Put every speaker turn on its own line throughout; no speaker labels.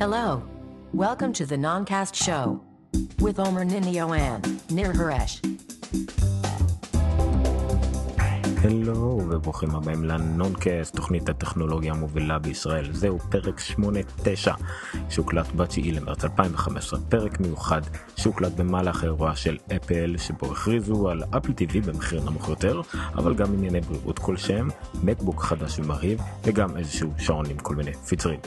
Hello. Welcome to the Noncast Show with Omer Ninio and Nir Haresh.
הלו, וברוכים הבאים לנונקאסט, תוכנית הטכנולוגיה המובילה בישראל. זהו פרק 8-9 שהוקלט ב-9 למרץ 2015, פרק מיוחד שהוקלט במהלך האירוע של אפל, שבו הכריזו על אפל TV במחיר נמוך יותר, אבל גם ענייני בריאות כלשהם, מקבוק חדש ומרהיב, וגם איזשהו שעון עם כל מיני פיצרים.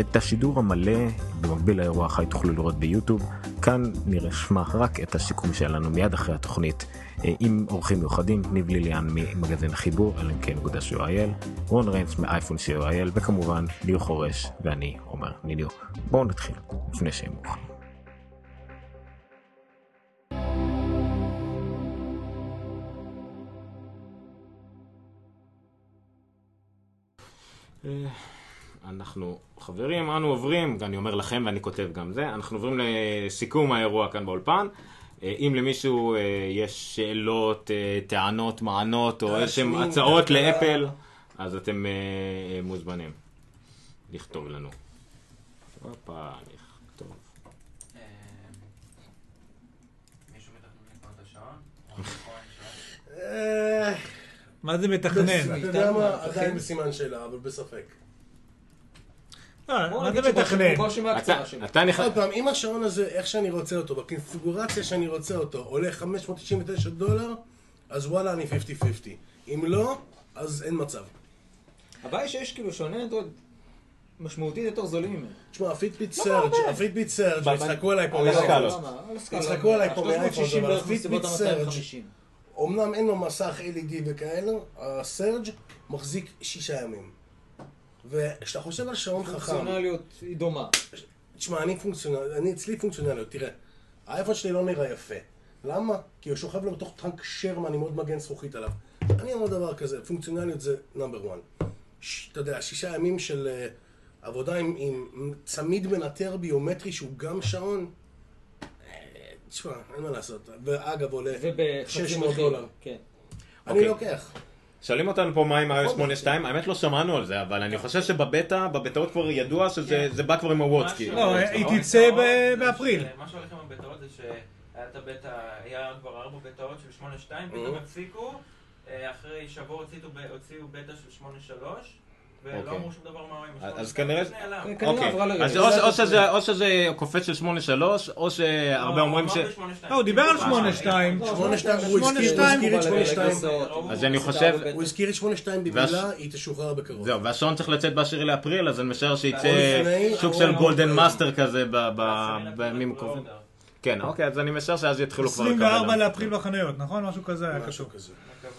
את השידור המלא במקביל לאירוע החי תוכלו לראות ביוטיוב. כאן נשמע רק את הסיכום שלנו מיד אחרי התוכנית אה, עם אורחים מיוחדים, ניב ליליאן ממגזין חיבור, lmk.co.il, רון ריינס מאייפון co.il, וכמובן ליאו חורש ואני עומר ניליו. בואו נתחיל לפני שהם מוכנים. אנחנו חברים, אנו עוברים, ואני אומר לכם ואני כותב גם זה, אנחנו עוברים לסיכום האירוע כאן באולפן. אה, אם למישהו אה, יש שאלות, אה, טענות, מענות, או איזשהם
תעשו,
הצעות
תעשו.
לאפל, אז אתם אה, אה, מוזמנים לכתוב לנו. הופה, נכתוב.
מישהו מתכנן לקרוא את השעון?
אה,
מה זה
אתה
מתכנן?
יודע מה, עדיין בסימן שאלה, אבל בספק.
לא, מה זה
הוא
מתכנן?
בושי מהקצרה
אתה-
שלי.
אתה נכנס...
עוד פעם, אם השעון הזה, איך שאני רוצה אותו, בקונפיגורציה שאני רוצה אותו, עולה 599 דולר, אז וואלה, אני 50-50. אם לא, אז אין מצב.
הבעיה היא שיש כאילו שעוני אנדרואיד משמעותית יותר זולים ממנו.
תשמע, הפיטביט סרג', הפיטביט סרג', יצחקו עליי פה
על הסקאלות.
מאייפון.
לא, למה? על הסקאלה.
יצחקו עליי פה
ה-
מאייפון,
360
אבל
בערך
הפיטביט
בסביבות
סרג',
ה-250.
אמנם אין לו מסך E LED וכאלה, הסרג' מחזיק שישה ימים. וכשאתה חושב על שעון חכם...
פונקציונליות היא דומה.
תשמע, אני פונקציונל, אני אצלי פונקציונליות, תראה, האייפון שלי לא נראה יפה. למה? כי הוא שוכב לו בתוך טנק שרמן עם עוד מגן זכוכית עליו. אני אומר דבר כזה, פונקציונליות זה נאמבר 1. אתה יודע, שישה ימים של אה, עבודה עם, עם צמיד מנטר ביומטרי שהוא גם שעון, אה, תשמע, אין מה לעשות. ואגב, עולה
ובחצי
600
מחיר.
דולר.
כן.
אני
אוקיי.
לוקח.
שואלים אותנו פה מה עם iOS 82, האמת לא שמענו על זה, אבל אני חושב שבבטא, בבטאות כבר ידוע שזה זה בא כבר עם הוואטס, כאילו.
לא, היא תצא ב- באפריל.
מה שהולך עם הבטאות זה שהיה את הבטא, היה כבר ארבע בטאות של 8.2, פתאום הפסיקו, אה, אחרי שבוע הוציאו ב- הוציאו בטא של 8.3,
אוקיי.
ולא אמרו שום דבר מה עם
אז-
ה-8.2,
אז כנראה-
זה נעלם.
כן, כנראה
אוקיי,
עברה לרגע.
אז או ש- או שזה- או שזה קופץ של 8.3, או שהרבה
לא,
אומרים ש...
אמר ב-8.2.
לא, הוא דיבר על 8.2.
אה,
לא,
8.2, הוא
שמונה
הזכיר-
שתיים.
הוא הזכיר את
מקובל עליי,
8.2.
גרסאות.
אז אני
סדרה
חושב-
בבטא.
הוא הזכיר את 8.2 במילה,
והש-
היא תשוחרר בקרוב.
זהו, והשעון צריך לצאת באשר לאפריל, אז אני משער שיצא
לפני-
שוק
או-
של
או-
גולדן
או-
מאסטר כזה ב- ב-
עשרה
בימים
לקוחות
הקרובים.
באורדר.
כן, אוקיי, אז אני משער שאז יתחילו כבר... לקבל
24
לנו.
לאפריל בחנויות, נכון? משהו כזה היה
משהו
כתוב.
כזה.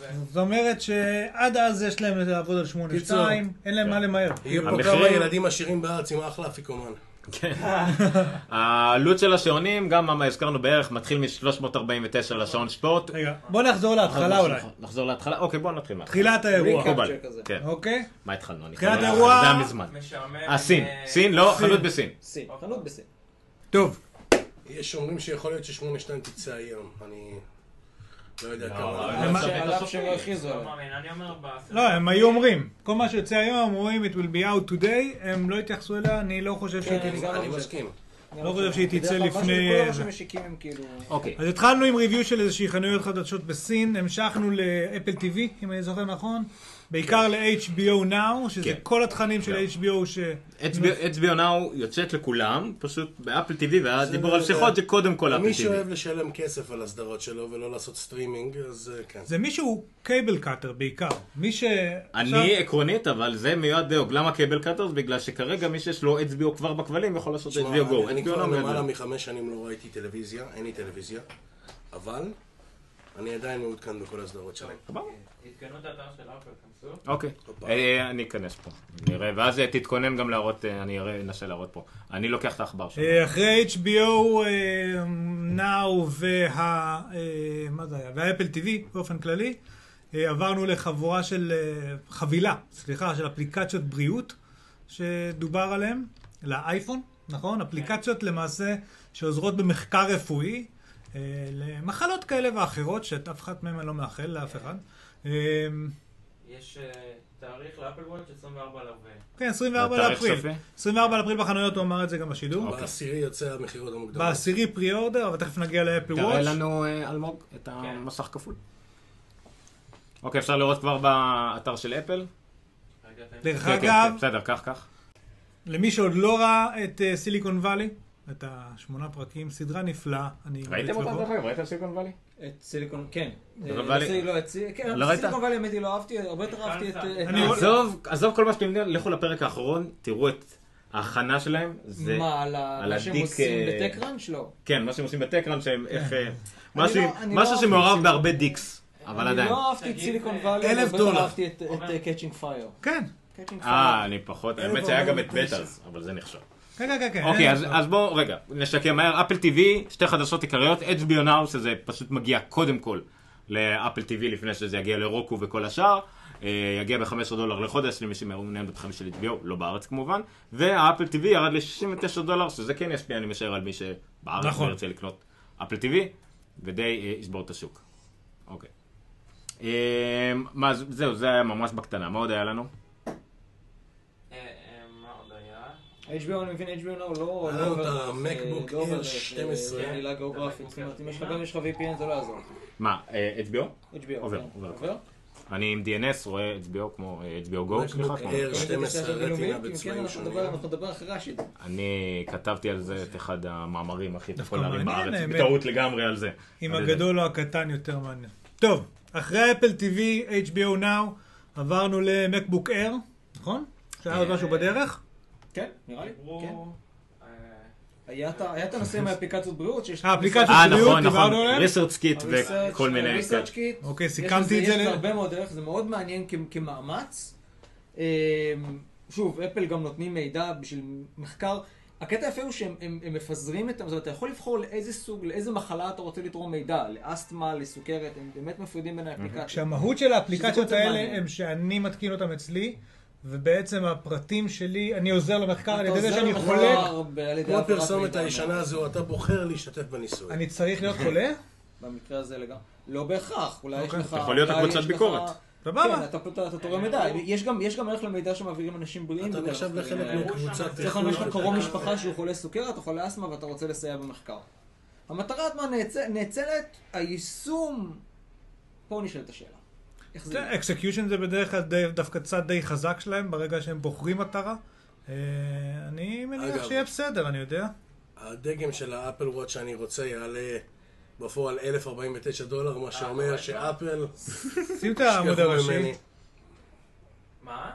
מקווה.
זאת אומרת שעד אז יש להם לעבוד על 8.2, אין
כן.
להם מה למהר.
יהיו פה
המחירים-
כמה ילדים עשירים בארץ עם אחלה אפיקומן.
העלות של השעונים, גם מה הזכרנו בערך, מתחיל מ-349 לשעון ספורט.
רגע, בוא נחזור להתחלה אולי.
נכון.
נחזור להתחלה? אוקיי, בואו נתחיל. מההתחלה.
תחילת האירוע.
ריקאפ.
מקובל.
צ'ק הזה.
כן.
אוקיי?
מה התחלנו? אני
תחילת
כבר לא-
האירוע-
זה היה מזמן.
משעמם.
אה, סין.
אה,
סין, לא, חנות בסין.
סין, חנות בסין.
טוב.
יש אומרים שיכול להיות ש-82 תצא היום, אני לא יודע כמה.
הם-
שעל אף שהם לא הכריזו
לא
עליו.
מאמין, אני אומר בסרט.
לא, הם היו אומרים. כל מה שיוצא היום, הם אומרים it will be out today, הם לא התייחסו אליה, אני לא חושב שהיא
כן,
תצא.
גם
אני
חושב.
מסכים.
לא חושב שהיא תצא
בדרך כלל
לפני- אה,
משהו- כל מה שמשיקים הם כאילו...
אוקיי.
אז התחלנו עם ריוויו של איזושהי חנויות חדשות בסין, המשכנו לאפל TV, אם אני זוכר נכון, בעיקר ל-HBO Now, שזה
כן.
כל התכנים של
כן.
HBO ש...
אצביו נאו יוצאת לכולם, פשוט באפל TV, והיה
זה- לא
דיבור על שיחות, זה קודם כל אפל
מי שאוהב
TV.
לשלם כסף על הסדרות שלו ולא לעשות סטרימינג, אז אה, כן.
זה מישהו קייבל קאטר בעיקר, מי ש...
אני עקרונית, אבל זה מיועד דיוק. למה קבל קאטרס? בגלל שכרגע מי שיש לו אצביו כבר בכבלים יכול לעשות
תשמע,
אצביו גו.
אני- אני
HBO לא
כבר
Now מיועד
למעלה
לזה.
מחמש שנים לא ראיתי טלוויזיה, אין לי טלוויזיה, אבל אני עדיין מעודכן בכל הסדרות שלהם.
סבבה.
עדכנו את האתר של אפל, כנסו.
אוקיי.
הופה.
אה, אני אכנס פה. נראה, ואז אה, תתכונן גם להראות, אה, אני אראה- אנסה להראות פה. אני לוקח את העכבר שלך.
אה, אחרי HBO אה, Now וה... אה, מה זה היה? והאפל TV באופן כללי, אה, עברנו לחבורה של... אה, חבילה, סליחה, של אפליקציות בריאות שדובר עליהן, לאייפון, נכון? אפליקציות למעשה שעוזרות במחקר רפואי אה, למחלות כאלה ואחרות, שאת אף אחת מהן אני לא מאחל לאף אחד. אה,
יש אה, תאריך לאפל וואץ' 24 לאפריל.
כן, 24
והתאריך
לאפריל.
צפי?
24 לאפריל בחנויות, הוא אמר את זה גם
אוקיי,
בשידור.
בעשירי יוצא המכירות המוקדמות.
בעשירי פרי אורדר, אבל תכף נגיע לאפל
תראה
וואץ'.
לנו, אה, אלמוג, את המסך כפול. אוקיי, אפשר לראות כבר באתר של אפל?
רגע, תן לי.
דרך
כן, כן,
אגב,
כן, בסדר, קח, קח.
למי שעוד לא ראה את אה, סיליקון וואלי, את השמונה פרקים, סדרה נפלאה. אני
ראיתם
ממליץ
אותה
לבוא.
דרך אגב? ראית את סיליקון וואלי?
את סיליקון, כן.
אבל
אה,
וואלי-
לא, את סי- כן,
לא
אבל
ראית?
סיליקון וואלי האמת היא לא אהבתי, הרבה יותר אהבתי את...
אני-
את-
אני-
עזוב, עזוב כל מה שאתם יודעים, לכו לפרק האחרון, תראו את ההכנה שלהם. זה-
מה, על ה-
על
מה שהם
הדיק,
עושים
אה,
בטקראנץ'? לא.
כן, מה שהם עושים בטקראנץ' שהם איך... אה, משהו-
לא- אני לא
משהו
אוהב
שמעורב
אנשים-
בהרבה דיקס, אבל
אני
עדיין.
לא אהבתי את
תגיד,
סיליקון
אה,
וואלי,
אלף
אבל בטח
דולר.
אהבתי את אה, קאצ'ינג פייר.
כן,
קאצ'ינג
אה,
פייר.
אני פחות,
אלף
האמת שהיה גם את
ארבעים ותשע.
בטאז, אבל זה נחשב.
כן, כן, כן, כן.
אוקיי,
אין
אז,
דבר.
אז בואו, רגע, נשקם מהר. אפל TV, שתי חדשות עיקריות, HBO Now, שזה פשוט מגיע קודם כל לאפל TV לפני שזה יגיע לרוקו וכל השאר. אה, יגיע ב-15 דולר לחודש למי שמעוניין בתכנים של HBO, לא בארץ כמובן. והאפל TV ירד ל-69 דולר, שזה כן ישפיע, אני משער, על מי שבארץ
נכון.
ירצה לקנות אפל TV, ודי אה, ישבור את השוק. אוקיי. אה, מה, זה- זהו, זה היה ממש בקטנה. מה עוד היה לנו?
אה, אה, מה עוד היה?
HBO, אני מבין, HBO לא- לא...
היה לנו את
עובר-
המקבוק
אה, לא עובר
אה, Air
את, אה,
12.
עלילה גיאוגרפית, זאת
אה,
אומרת, אם יש לך גם יש לך VPN זה לא יעזור.
מה, אה, HBO?
HBO.
עובר,
כן.
עובר.
עובר?
אני עם DNS רואה HBO כמו אה, HBO Go, סליחה.
MacBook
כמו-
Air
אם אתה עושה
12
בינלאומי,
רטינה
אם כן,
בצבעים
אנחנו
שונים.
נדבר- אנחנו נדבר אחרי השיט.
אני כתבתי על זה את אחד המאמרים הכי
דווקא
פופולריים
מעניין,
בארץ,
האמת.
בטעות לגמרי על זה.
עם
על זה.
הגדול או הקטן יותר מעניין. טוב, אחרי אפל TV, HBO Now, עברנו למקבוק אייר, נכון? שהיה
אה,
עוד משהו בדרך?
כן, נראה לי. כן.
דיברו... אה,
היה את ה- היה את הנושא עם האפליקציות בריאות שיש...
אה, אפליקציות
אה,
בריאות,
נכון, נכון,
דיברנו עליהם?
ריסרצ' קיט וכל מיני...
ריסרצ' קיט.
אוקיי, סיכמתי את זה
יש
ל-
לזה הרבה מאוד ערך, זה מאוד מעניין כ- כמאמץ. אמ, שוב, אפל גם נותנים מידע בשביל מחקר. הקטע היפה הוא שהם הם, הם מפזרים את, זאת אומרת, אתה יכול לבחור לאיזה סוג, לאיזה מחלה אתה רוצה לתרום מידע, לאסתמה, לסוכרת, הם באמת מפרידים בין האפליקציות.
כשהמהות של האפליקציות
שזה קונספט
האלה
מעניין.
הם שאני מתקין אותם אצלי, ובעצם הפרטים שלי, אני עוזר למחקר על ידי זה שאני
אתה עוזר
חולה.
למחקר ב- על ידי
כמו
העברת
הפרסומת
מידע.
הישנה הזו, אתה בוחר להשתתף בניסוי.
אני צריך להיות חולה?
במקרה הזה לגמרי. לא בהכרח, אולי יש
אוקיי.
לך...
יכול להיות
אולי
הקבוצת
יש לך-
ביקורת.
סבבה.
כן, אתה- אתה אתה תורם מידע. יש גם- יש גם ערך למידע שמעבירים אנשים בריאים.
אתה
בדרך
נחשב
כלל. אה,
לחלק מקבוצת...
צריך
איכות.
לומר יש לך קרוב משפחה שהוא חולה סוכרת או חולה אסתמה ואתה רוצה לסייע במחקר. המטרה עצמה נאצ- נאצלת, היישום... פה נשאלת השאלה. איך זה...
כן,
זה, אקסקיושן זה בדרך כלל די- דווקא צד די חזק שלהם, ברגע שהם בוחרים מטרה. אה, אני מניח
אגב.
שיהיה בסדר, אני יודע.
הדגם של האפל וואט שאני רוצה יעלה בפועל 1,049 דולר,
אה,
מה שאומר שאפל...
שים את העמוד
ישכחו ממני.
הראשי.
מה?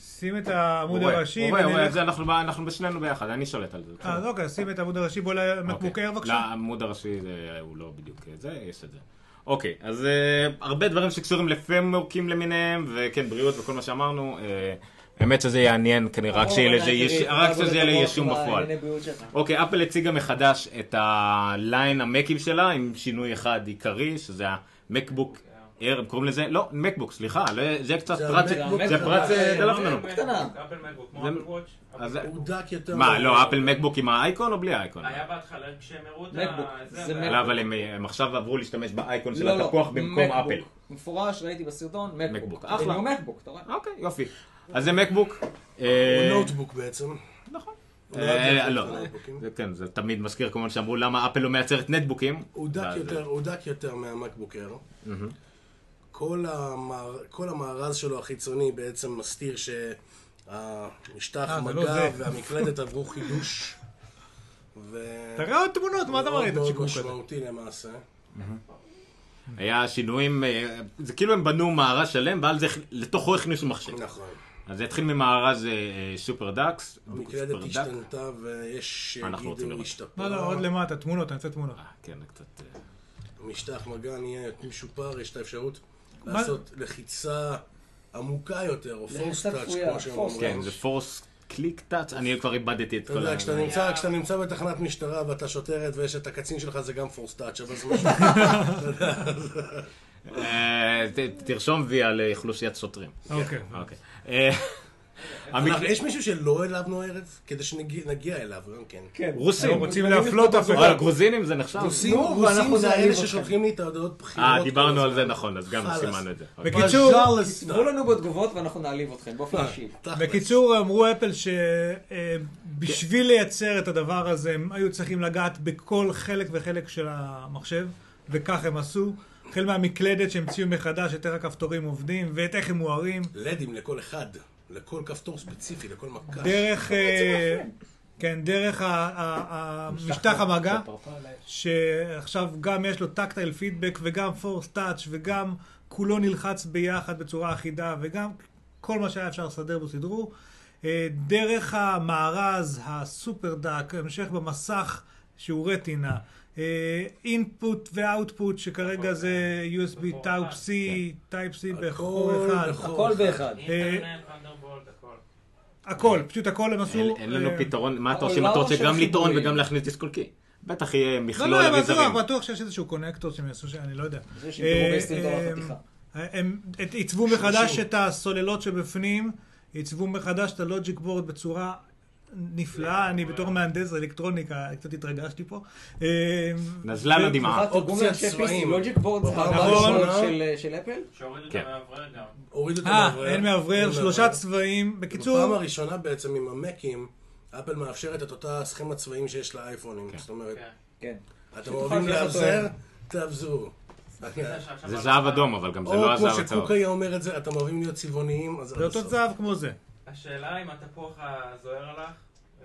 שים את העמוד
הוא רואה,
הראשי.
הוא רואה, הוא רואה,
ונלך-
אוקיי. זה אנחנו ב- אנחנו בשנינו ביחד, אני שולט על זה.
אז אוקיי, שים את העמוד הראשי, בוא למקבוק
אוקיי.
אייר בבקשה.
לעמוד הראשי זה- הוא לא בדיוק זה, יש את זה. אוקיי, אז אה, הרבה דברים שקשורים לפרמורקים למיניהם, וכן, בריאות וכל מה שאמרנו. אה, האמת שזה יעניין כנראה, רק שיהיה לזה יש- רק שזה יהיה ליישום בפועל. אוקיי, אפל הציגה מחדש את הליין המקים שלה עם שינוי אחד עיקרי, שזה המקבוק. אייר, הם קוראים לזה, לא, מקבוק, סליחה, לא, זה קצת
זה
פרט,
המקבוק
זה פרט
החדש.
דלף ממנו.
קטנה.
אפל מקבוק, אוקיי, כמו אוקיי.
זה-
אפל וואץ'.
אז-
אפל-
הוא דק יותר.
מה, לא, אפל מקבוק עם האייקון או בלי האייקון?
היה בהתחלה כשהם הראו את
מקבוק,
ה...
זה
אבל-
מקבוק.
לא, אבל הם- הם עכשיו עברו להשתמש באייקון של
לא,
התפוח במקום אפל.
לא, מפורש, ראיתי בסרטון, מקבוק.
מקבוק, אחלה.
הוא מקבוק, אתה רואה?
אוקיי, יופי. אז זה מקבוק.
הוא
אה,
נוטבוק בעצם.
נכון.
הוא לא יודע
אה, לא,
איך נוטבוקים.
זה כן, זה תמיד מזכיר כמובן שאמרו למה אפל לא מייצרת נטבוקים.
הוא דק
ואז-
יותר, הוא דק יותר מהמקבוקר. כל, המאר... כל המארז שלו החיצוני בעצם מסתיר שהמשטח
אה, זה לא
מגע
זה.
והמקלדת עברו חידוש. ו...
תראה עוד תמונות, מה אתה מראה
לא. מאוד
את
מאוד
השיקוק הזה?
משמעותי למעשה.
היה שינויים, אה, זה כאילו הם בנו מארז שלם, ואז זה- לתוכו הכניסו מחשב.
נכון.
אז זה התחיל ממארז אה, אה, אוקיי, סופר דאקס.
המקלדת
סופר דק.
השתנתה ויש
אנחנו רוצים
שיגידו
לראות.
לא, לא, עוד
השתפרה.
למטה, תמונות, אני רוצה תמונות.
אה, כן, קצת... אה,
המשטח מגע נהיה משופר, יש את האפשרות
מה-
לעשות לחיצה עמוקה יותר, או
לחיצה
פורס טאץ',
כפויה,
כמו שהם
force
אומרים.
כן, זה פורס קליק טאץ, אני כבר איבדתי את
אתה
כל
יודע,
ה...
כשאתה נמצא, כשאתה נמצא בתחנת משטרה ואתה שוטרת ויש את הקצין שלך זה גם פורס טאץ', אבל זה משהו...
אה, ת- תרשום וי על אוכלוסיית שוטרים.
אוקיי.
אוקיי. אה,
אנחנו- יש מישהו שלא העלבנו הערב? כדי שנגיע אליו, גם כן.
כן.
רוסים.
היום
רוצים
מגלים
להפלות
לפתוח
אף אחד.
אבל גרוזינים אה, זה נחשב.
רוסים
נו,
רוסים
ואנחנו
זה
נעליב
אלה
אתכם.
ששולחים לי את ההודעות בחירות.
אה, דיברנו
כל
על זה
הזמן.
נכון, אז גם
חלאס.
סימנו את זה. אוקיי.
בקיצור,
חלאס.
תכתבו לנו בתגובות ואנחנו נעליב אתכם באופן
אה,
אישי.
נכון.
תכלס.
בקיצור, אמרו אפל שבשביל לייצר את הדבר הזה, הם היו צריכים לגעת בכל חלק וחלק של המחשב, וכך הם עשו. החל מהמקלדת שהמציאו מחדש, את איך הכפתורים עובדים, ואת איך הם מוארים.
לדים לכל אחד, לכל כפתור ספציפי, לכל מכה.
דרך, אה, כן, דרך ה- ה- ה- משטח המגע, שעכשיו גם יש לו טקטייל פידבק וגם פורס טאץ' וגם כולו נלחץ ביחד בצורה אחידה וגם כל מה שהיה אפשר לסדר בו סידרו. אה, דרך המארז הסופר דק, המשך במסך שהוא רטינה. אינפוט ואוטפוט שכרגע זה USB
בכל אחד.
טייפ C, טייפ C בכל
הכל
אחד.
בכל
הכל
אחד.
באחד.
אה,
אינטרנט, אנדרבולד, הכל.
הכל, פשוט הכל הם עשו.
אין אין לנו
אה,
פתרון, מה אתה עושה אם
העולם
אתה רוצה
של
גם לטעון
החיבורים.
וגם להכניס דיסק כל קי? בטח יהיה
לא,
מכלול
לא, הם
אביזרים.
בטוח, בטוח שיש איזשהו קונקטור שהם יעשו, שאני לא יודע.
זה שהם דיברו ב-20 דולר
אה,
חתיכה.
אה, הם את- עיצבו מחדש את הסוללות שבפנים, עיצבו מחדש את הלוג'יק בורד בצורה נפלאה, אני בתור מהנדס אלקטרוניקה קצת התרגשתי פה. אה,
נזלה
ו-
לדמעה.
בכלל תרגום
אופציית
לאנשי PC,
צבעים.
לוג'יק בורד זה
נכון.
אה,
הדבר הראשון של- אה, של אפל?
שהורידו את
כן.
המאוורר גם.
הורידו את המאוורר.
אה, אין מאוורר,
אין
שלושה צבעים.
בפעם
בקיצור,
הראשונה בעצם עם המקים, אפל מאפשרת את אותה סכמת צבעים שיש לאייפונים. זאת אומרת,
כן.
כן.
אתם אוהבים
לקחת
לאבזר? תאבזרו.
כן.
זה זהב אדום, אבל גם זה
או
לא
כמו
הזהב הצהוב.
שקוק היה אומר את זה, אתם אוהבים להיות צבעוניים, אז עד
זה אותו
הסוף.
זהב כמו זה.
השאלה אם התפוח הזוהר הלך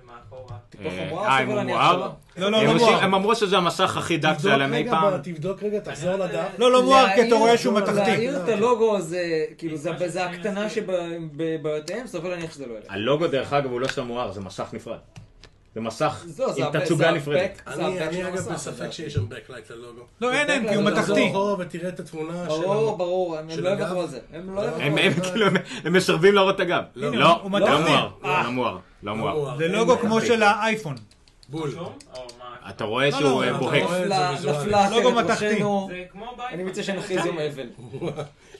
ומאחורה.
אה,
אה,
מואר,
אה, אם
סביר
הוא
להניח
מואר?
שלא.
לא, לא,
הם
לא
עושים-
מואר.
הם אמרו שזה המסך הכי דק
תבדוק
שעליהם אי
רגע,
פעם.
ב- תבדוק רגע, תחזור
אני-
לדף.
לא, לא מואר, כי אתה רואה שהוא
להעיר-
מתכתי.
להעיר את הלוגו הזה, כאילו זה
מה שצריך
זה הקטנה
להסביר.
שבבעיותיהם, סביר להניח שזה לא ילך.
הלוגו דרך אגב הוא לא שם מואר, זה מסך נפרד. זה מסך
זו, זה
עם
ה-
תצוגה
זה
נפרדת.
ה-back- זה
אני
ה-back
אני
של
אגב
המסך,
בספק
לדעתי.
שיש שם backlight ללוגו.
לא, אין, אין, כי הוא
זה
מתכתי.
תחזור ותראה את התמונה של...
ברור,
ה-
ברור, הם הם
של
לא
הגב?
יוותרו על זה. הם לא יוותרו
הם
על
הם
זה.
כאילו, הם- הם מסרבים להראות את הגב. לא,
הנה,
לא
הוא מתכתי.
מואר,
אה.
לא מואר, לא מואר.
מואר.
זה לוגו כמו של האייפון.
בול.
שום? או מה?
אתה רואה
לא,
שהוא
לא,
אה,
אתה
בוהק.
רואה.
נפלה,
זה ויזואלי.
נפלה
לוגו
אחרת
מתכתי.
ראשינו.
זה כמו בית.
אני מציע שנכריז יום אבל.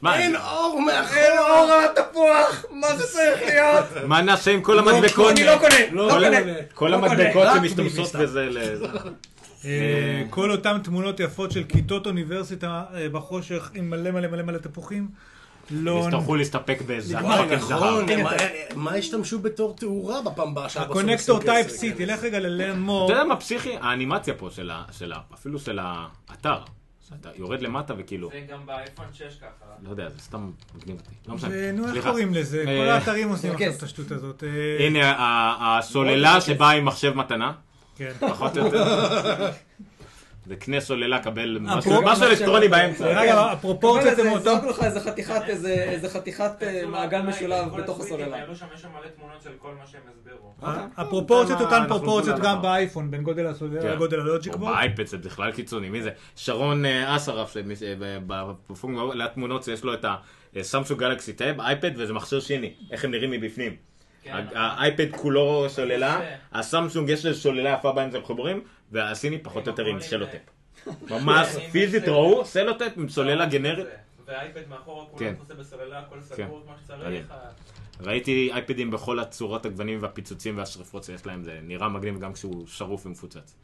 מה,
אין אה. אור מאחור.
אין אור התפוח! מה זה צריך להיות?
מה נעשה עם כל המדבקות?
אני לא קונה, לא
כל-
קונה.
כל
לא
המדבקות
רק
שמסתמסות
ביביסטה.
בזה לזה.
אה, כל אותן תמונות יפות של כיתות אוניברסיטה אה, בחושך עם מלא מלא מלא מלא תפוחים. לא,
יצטרכו להסתפק באיזה
וואי,
פאקינג
נכון,
זהב.
מה- מה ישתמשו בתור תאורה בפעם הבאה שעה בסוף
הקונקטור
עושים
טייפ
כסף?
C, תלך רגע ללרן
כן. אתה
מור.
יודע מה פסיכי? האנימציה פה של ה... של ה- אפילו של האתר. שאתה יורד למטה וכאילו...
זה גם באייפון 6
אה,
ככה.
לא יודע, זה סתם מגניב אותי. לא משנה.
נו, איך
סליחה.
קוראים לזה?
אה,
כל האתרים עושים
טרקס.
עכשיו את השטות הזאת. אה,
הנה ה- ה- הסוללה שבאה עם מחשב מתנה.
כן.
פחות או יותר. זה קנה סוללה, קבל משהו
אה, פה-
משהו אלקטרוני באמצע.
רגע, הפרופורציות
קבל
הם
איזה-
אותם.
זרקו לך איזה חתיכת, איזה- איזה חתיכת אה, מעגל משולב בתוך הסוללה.
העלו שם, יש שם מלא תמונות של כל מה שהם הסבירו.
הפרופורציות
אתה יודע מה,
אותן
אה, אנחנו
פרופורציות
כולנו
גם
אחר.
באייפון, בין גודל הסוללה לגודל הלוג'יק
או
בורד.
באייפד זה בכלל קיצוני, מי זה? שרון אה, אסרף, שמי ש- ב- ב- בפונג- לתמונות שיש לו את אה, הסמסונג גלקסי טאב, אייפד וזה מכשיר שני, איך הם נראים מבפנים.
כן.
ה- האייפד כולו שוללה,
יפה.
הסמסונג יש לו שוללה יפה באמצע מחוברים, והסיני פחות או יותר עם
הכל עם-
סלוטאפ. ממש
כן, עם
פיזית
סלוטאפ.
ראו סלוטאפ עם
אה, לא,
סוללה גנרית.
והאייפד מאחורה,
כן.
כולם חוסר בסוללה, הכל
כן.
סגור כמו
מדהים.
שצריך. ה-
ראיתי אייפדים בכל הצורות, הגוונים והפיצוצים והשרפות שיש להם, זה נראה מגניב גם כשהוא שרוף ומפוצץ.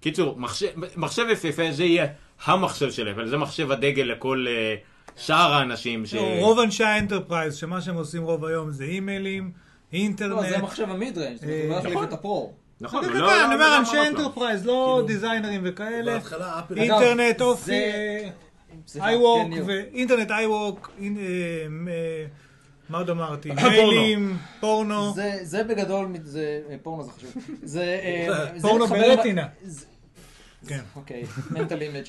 קיצור, מחשב- מחשב יפהפה, זה יהיה המחשב של אפל, זה מחשב הדגל לכל אה, שאר האנשים ש...
לא, רוב אנשי האנטרפרייז, שמה שהם עושים רוב היום זה אימיילים,
לא, זה
אינטרנט.
המחשב המידרנג, זאת אומרת,
אה,
הוא לא יחליף
נכון.
את הפרו.
נכון,
אני
אבל לא- לא-
אומר
לא-
אנשי
ממש לא.
אנטרפרייז, לא דיזיינרים וכאלה.
בהתחלה אפל...
אגב,
אינטרנט
זה-
אופי,
סליחה,
איי-ווק,
כן, יו.
אינטרנט איי-ווק, אין- אה, אה, מה עוד אמרתי?
פורנו.
מיילים, פורנו.
זה- זה בגדול, מת- זה אה, פורנו זה חשוב. זה... אה, זה
פורנו
מתחבר ל-
ברטינה.
זה-
כן.
אוקיי, מנטל אימג'.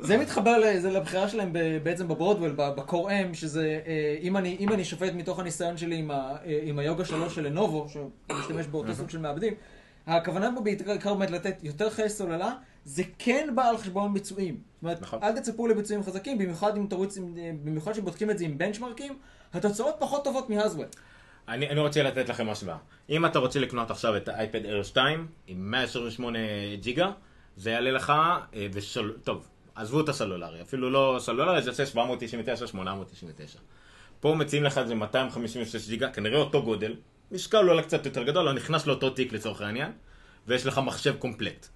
זה מתחבר ל- זה לבחירה שלהם ב- בעצם בברודוול, בקור אם, שזה אה, אם אני- אם אני שופט מתוך הניסיון שלי עם ה- אה, עם היוגה שלוש של לנובו, שמשתמש באותו סוג של מעבדים, הכוונה פה בעיקר באמת לתת יותר חיי סוללה, זה כן בא על חשבון ביצועים. זאת אומרת,
נכון.
אל תצפו לביצועים חזקים, במיוחד אם תרוץ, עם- אה, במיוחד שבודקים את זה עם בנצ'מרקים, התוצאות פחות טובות מהזוול.
אני, אני רוצה לתת לכם השוואה. אם אתה רוצה לקנות עכשיו את האייפד אייר 2 עם 128 ג'יגה, זה יעלה לך, אה, בשל... טוב, עזבו את הסלולרי, אפילו לא סלולרי, זה יוצא 799, 899. פה מציעים לך את זה 256 גיגה, כנראה אותו גודל, משקל אולי קצת יותר גדול, אבל נכנס לאותו תיק לצורך העניין, ויש לך מחשב קומפלט.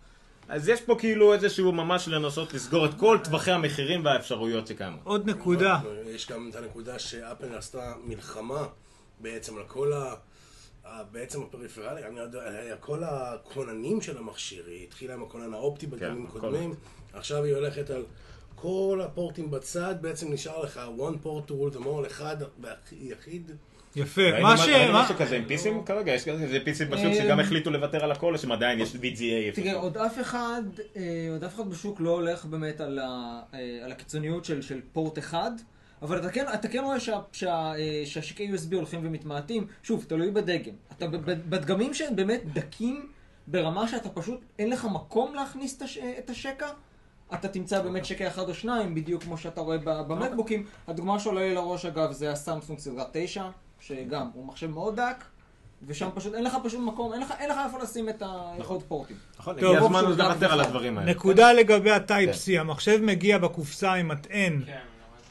אז יש פה כאילו איזשהו ממש לנסות לסגור את כל טווחי המחירים והאפשרויות שקיימות.
עוד נקודה.
יש גם את הנקודה שאפל עשתה מלחמה בעצם על כל ה... ה- בעצם הפריפרלי, אני לא יודע, כל הכוננים של המכשיר, היא התחילה עם הכונן האופטי בגנים
הכל.
קודמים, עכשיו היא הולכת על כל הפורטים בצד, בעצם נשאר לך one port to rule the mall אחד ויחיד.
יפה.
ראינו
מה ש...
ראינו
מה-
משהו כזה עם פיסים כרגע, יש כזה פיסים בשוק שגם החליטו לוותר על הכל, שהם עדיין יש VGA.
תראה,
איפשהו.
עוד אף אחד, אה, עוד אף אחד בשוק לא הולך באמת על, ה, אה, על הקיצוניות של, של פורט אחד, אבל אתה כן, אתה כן רואה שה, שה, אה, שהשקעי USB הולכים ומתמעטים, שוב, תלוי בדגם. אתה ב- ב- בדגמים שהם באמת דקים ברמה שאתה פשוט, אין לך מקום להכניס את, הש, אה, את השקע. אתה תמצא באמת שקע אחד או שניים, בדיוק כמו שאתה רואה ב- במקבוקים. הדוגמה שעולה לי לראש, אגב, זה הסמסונג סדרה 9, שגם הוא מחשב מאוד דק, ושם פשוט אין לך פשוט מקום, אין לך- אין לך איפה לשים את היכולת פורטים.
נכון,
טוב,
הגיע הזמן
שוב,
לוותר
גם
על
בכלל.
הדברים האלה.
נקודה לגבי הטייפ-C, המחשב מגיע בקופסה עם מטען
כן,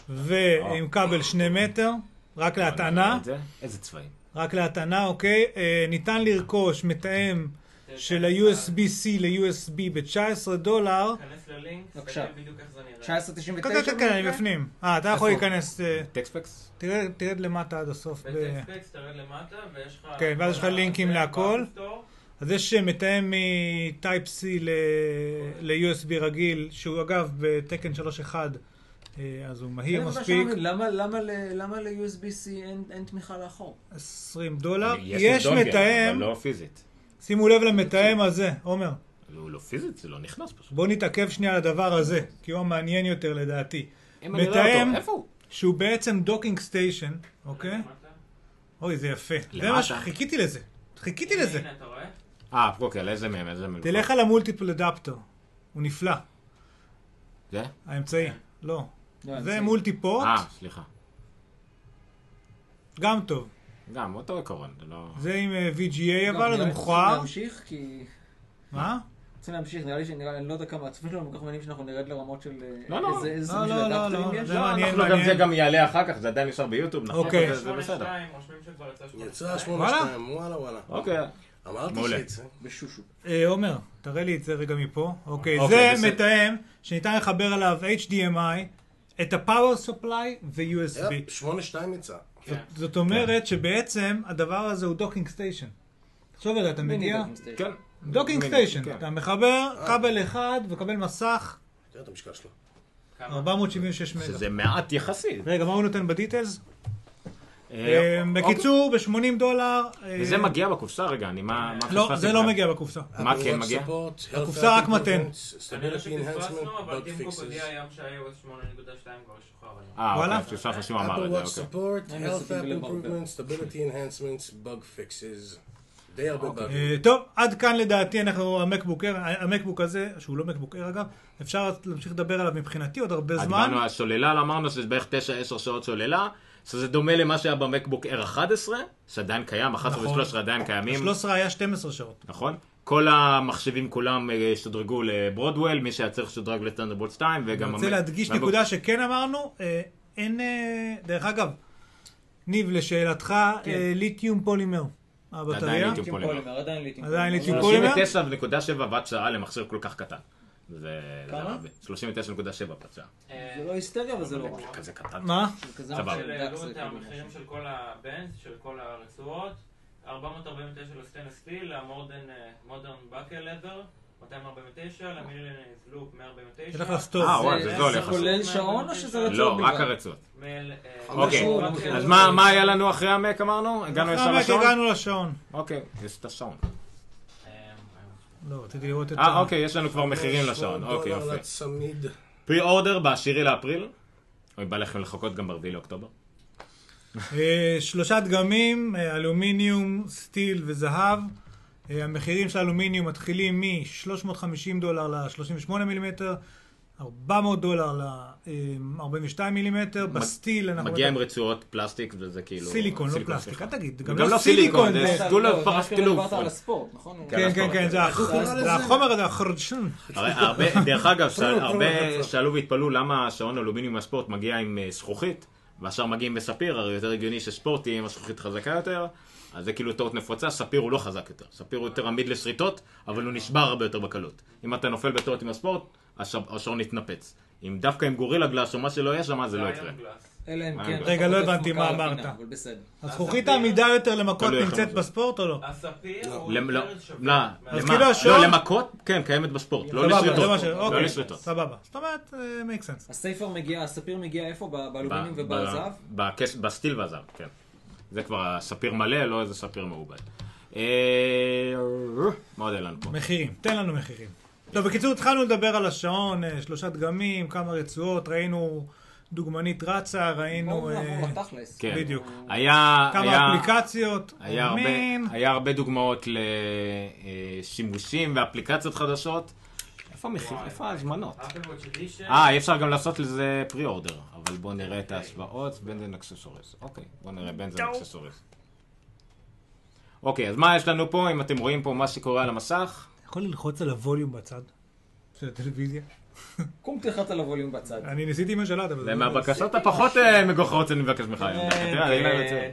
ועם כבל שני מטר, רק
אה,
להטענה,
איזה צבעים.
רק להטענה, אוקיי? אה, ניתן לרכוש מתאם
כן.
של ה-USB-C ל-USB ב-19 דולר.
כן.
כנס ללינק,
בבקשה.
תסתכל בדיוק איך זה נראה.
19.99
כן, כן, כן, כן, אני
במקרה?
בפנים. אה, אתה יכול להיכנס, אה,
טקספקס?
תרד- תרד למטה עד הסוף. ב-
בטקספקס תרד למטה, ויש לך...
כן, ואז יש לך לינקים להכל.
באפסטור.
אז יש אה, מתאם מ-Type-C ל- ל-USB רגיל, שהוא אגב בתקן 3.1, אה, אז הוא
כן, זה
מהיר
מה
מספיק,
שאני אומר, למה- למה ל- למה ל-USB-C אין- אין תמיכה לאחור?
20 דולר.
יש לי
יש
דונגל,
מתאם,
אבל לא פיזית.
שימו לב למתאם הזה, עומר.
לא לא פיזית, זה לא נכנס פשוט.
בואו נתעכב שנייה על הדבר הזה, כי הוא המעניין יותר לדעתי.
אם אני לא רואה
מתאם,
אותו, איפה הוא?
שהוא בעצם דוקינג סטיישן, אוקיי?
למטה.
אוי, זה יפה. זה
למטה.
מה שחיכיתי לזה. חיכיתי לזה.
הנה, אתה רואה?
אה, אוקיי, על איזה מהם, איזה מהם. אוקיי.
תלך על המולטיפל אדפטור. הוא נפלא.
זה?
האמצעי. לא.
לא,
זה
האמצעי.
מולטי פורט,
אה, סליחה.
גם טוב.
גם, אותו עיקרון, זה לא...
זה עם אה, VGA
טוב, נראה
אבל,
לי
זה
שצריך
מוכרע.
לא, להמשיך, כי...
מה?
צריכים להמשיך, נראה לי שנראה לי, אני לא יודע כמה הצופים שלנו כל כך מעניינים שאנחנו נרד לרמות של אה,
לא, לא.
איזה איזה
לא,
סוג של
לא, לא,
אדפטרים
לא,
יש.
זה מעניין,
אנחנו גם זה
מעניין.
גם יעלה אחר כך, זה עדיין נשאר ביוטיוב, נכון?
אוקיי.
אבל זה בסדר.
8.2, רושמים שכבר יצא 8.2.
יצא 82, וואלה וואלה.
אוקיי.
אמרתי
מעולה.
שיצא.
בשושו.
אה, עומר, תראה לי את זה רגע מפה. אוקיי,
אוקיי,
זה
בסדר.
מתאם שניתן לחבר עליו HDMI, את ה-Power Supply ו-USB.
יפ, 82 יצא.
כן.
זאת אומרת שבעצם הדבר הזה הוא דוקינג סטיישן. תחשוב על זה, אתה מגיע...
מיני דוקינג
כן.
דוקינג
מיני,
סטיישן,
כן.
אתה מחבר כבל אחד וקבל מסך
תראה את המשקל שלו.
כמה?
476 מגה.
שזה מעט יחסית.
רגע, מה הוא נותן בדיטלס?
אה,
אה,
אוקיי.
בקיצור, ב-80 דולר... אה,
וזה מגיע בקופסה רגע, אני מה... מה
לא,
פספסתי
זה לא
כאן?
מגיע בקופסה.
מה כן מגיע?
הקופסה רק מתן.
כנראה
Stability
שפספסנו,
enhancement,
אבל
bug
טים קוק הודיע
fixes.
היום שה-iOS 8.2 כבר שוחרר היום.
אה,
וואלה.
וואלה. שלושה חשובים אמר
Apple
את זה, אוקיי.
Watch support,
אני
health
עשיתי
app
בלב הרבה.
improvements, stability enhancements, bug fixes. די הרבה באגים.
אה, טוב, עד כאן לדעתי אנחנו, המקבוק אייר, המקבוק הזה, שהוא לא מקבוק אייר אגב, אפשר להמשיך לדבר עליו מבחינתי עוד הרבה זמן.
דיברנו על שוללה, לא אמרנו שזה בערך 9-10 שעות שוללה, שזה דומה למה שהיה במקבוק Air 11, שעדיין קיים, 11
נכון.
ו-13 עדיין קיימים,
13 היה 12 שעות.
נכון? כל המחשבים כולם אה, שודרגו לברודוול, מי שהיה צריך שודרג לטנדרבולט 2, וגם...
אני רוצה
המק-
להדגיש
והמק-
נקודה שכן אמרנו, אה, אין, אה, דרך אגב, ניב, לשאלתך,
כן.
אה, ליתיום פולימר, הבטריה.
ליתיום. פולימר.
פולימר, עדיין ליטים
עדיין
פולימר.
ליתיום.
39.7 ואט שעה למכשיר כל כך קטן. זה...
כמה?
זה הרבה. 39.7 ואט שעה.
זה לא היסטריה, אבל זה לא רע.
זה כזה קטן.
מה?
זה כזה
סבבה.
מחשב
אה, של
דק,
העלו
זה
את
כאילו
המחירים
משהו.
של כל הבנד, של כל הרצועות, 449 לסטיינס סטיל, למודרן בקל לבר, 249, למילניז לופ 149.
תלך לסטור.
אה, וואי, זה זול
זה
יחסית.
כולל שעון או שזה רצון?
לא, רק
בלבד?
הרצועות.
מייל, אה,
אוקיי,
משהו,
בקל
משהו.
אז
לבר.
מה מה היה לנו אחרי המק אמרנו? הגענו ישר
אה,
לשעון?
הגענו לשעון.
אוקיי, יש את השעון.
אה,
לא, רציתי לראות את
אה,
ה-
אוקיי, יש לנו כבר מחירים
אה,
לשעון.
לא,
אוקיי,
דולר
יופי. אה,
לצמיד.
פרי אורדר ב-10 לאפריל. אוי, בא לכם לחכות גם ב-4 לאוקטובר.
אה, שלושה דגמים, אה, אלומיניום, סטיל וזהב. אה, המחירים של אלומיניום מתחילים מ-350 דולר ל-38 מילימטר, 400 דולר ל-42 מילימטר, בסטיל אנחנו...
מגיע עם רצועות פלסטיק וזה כאילו...
סיליקון, לא פלסטיק,
סליחה.
אל תגיד, גם
וגם
לא
לא
סיליקון.
סיליקון, זה-
זה-
כאילו,
אתה-
סגולה
לא, זה
פרס
אשכרה
טילוף.
דיברת על הספורט, נכון?
כן, כן, כן, זה הח-
קרא לזה?
זה החומר הזה, החרדשן.
הרי הרבה, דרך אגב, שאל-
כלום, כלום,
הרבה
כלום.
שאלו והתפלאו למה השעון אלומיניום הספורט מגיע עם אה, זכוכית, והשאר מגיעים בספיר, הרי יותר הגיוני שספורט תהיה עם הזכוכית חזקה יותר, אז זה כאילו טעות נפוצה, ספיר הוא לא חזק יותר. ספיר הוא יותר עמיד לשריטות, אבל הוא נשבר הרבה יותר בקלות. אם אתה נופל בטעות עם הספורט, השב- השעון יתנפץ. אם דווקא עם גורילה גלאס או מה שלא יהיה שם, אז זה לא יקרה.
אלא אם כן...
רגע,
אתה
לא
חוטף
הבנתי
מכה
מה
על הפינה,
אמרת.
אבל בסדר.
הזכוכית העמידה יותר למכות
תלוי איך
נמצאת
אתה מזהה.
בספורט או לא?
הספיר הוא
למ- לא,
יותר שווה.
לא,
אז
למה?
כאילו השעון-
לא, למכות, כן, קיימת בספורט, לא
סבבה,
לשריטות.
זה מה ש-
לא
אוקיי,
לשריטות.
סבבה. זאת אומרת, אה, מייק סנס.
הספר מגיע, הספיר מגיע איפה? ב- באלומיניום
ב-
ובזהב?
ב- בכס- בסטיל והזהב, כן. זה כבר הספיר מלא, לא איזה ספיר מעובד. אה, מה עוד היה לנו פה?
מחירים, תן לנו מחירים. טוב, בקיצור, התחלנו לדבר על השעון, אה, שלושה דגמים, כמה רצועות, ראינו דוגמנית רצה, ראינו
בואו
אה,
נעבור לתכלס.
כן.
בדיוק.
היה... היה-
כמה אפליקציות,
היה הרבה,
אומנים.
היה הרבה דוגמאות לשימושים ואפליקציות חדשות. איפה המחיר? איפה ההזמנות?
אפלווד שדישן,
אה, אי אפשר גם לעשות לזה פרי-אורדר, אבל בואו נראה את ההשוואות, בנזן אקססוריס. אוקיי, בואו נראה בנזן אקססוריס. אוקיי, אז מה יש לנו פה, אם אתם רואים פה מה שקורה על המסך?
אתה יכול ללחוץ על הווליום בצד של הטלוויזיה?
קום תלחץ על הווליום בצד.
אני ניסיתי עם השאלה, אבל...
זה מהבקשות הפחות אה, מגוחכות שאני מבקש ממך היום.
כן,
אתה תראה, אני לא יוצא.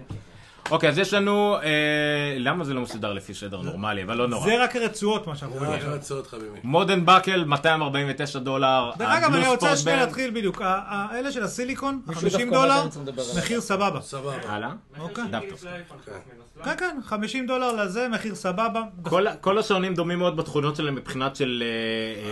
אוקיי, אז יש לנו... אה, למה זה לא מסודר לפי סדר נורמלי, אבל לא נורא. אה,
זה רק הרצועות, מה שאנחנו רואים.
רק רצות חביבי.
מודן באקל, 249 דולר.
דרך אגב, אני
הבלו
רוצה
ספורט
שנייה
בנד.
להתחיל בדיוק. ה- ה- אלה של הסיליקון,
מישהו
50
דווקא
דולר,
אמר שאני צריך לדבר עליו.
מחיר סבבה.
סבבה.
הלאה.
אוקיי.
דווקא.
לא,
כן, כן, 50 דולר לזה, מחיר סבבה.
כל, כל השעונים דומים מאוד בתכונות שלהם מבחינת של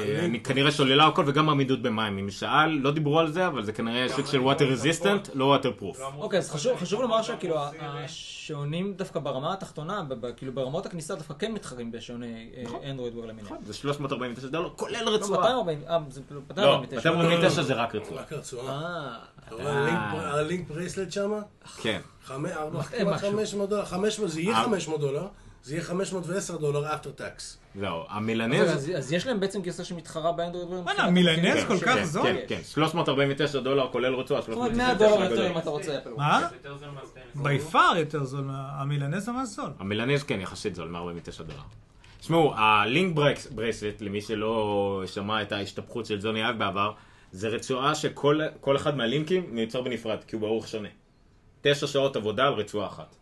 אה, אה, אני כנראה שוללה הכל וגם עמידות במים. אם שאל, לא דיברו על זה, אבל זה כנראה סוג של water resistant, לא water proof.
אוקיי, אז חשוב, חשוב לומר שכאילו ה- השעונים דווקא ברמה התחתונה, ב- ב- כאילו ברמות הכניסה דווקא כן מתחרים בשעוני
נכון.
אה, אנדרואיד וואלה מיני.
זה 349 דולר, כולל רצועה.
240, אה, זה כאילו
לא,
249.
249 זה רק רצועה.
רק רצועה.
אה,
אתה רואה הלינק- הלינק ברייסלט שמה?
כן.
חמש- ארבע- כמעט
משהו.
500 דולר, 500, זה יהיה
אה.
500 דולר, זה יהיה 510 דולר אפטר טקס.
זהו,
אוקיי,
אז-
המילנז...
אז- אז יש להם בעצם גרסה שמתחרה באנדרואיד וואלה.
בואנה, מילנז
כן,
לא, כל
כן,
כך
כן,
זול?
כן, כן, 349 דולר כולל רצועה.
זאת אומרת 100 דולר
399
יותר אם
גדול.
אתה רוצה אפל וואץ'.
מה?
יותר זול מהסטנס.
בי פאר יותר זול, מה- המילנז ממש זול.
המילנז כן, יחסית זול, 149 דולר. תשמעו, הלינק ברקס- ברסלט, למי שלא שמע את ההשתפכות של זוני אב בעבר, זה רצועה שכל כל אחד מהלינקים מיוצר בנפרד, כי הוא באורך שונה. תשע שעות עבודה על רצועה אחת.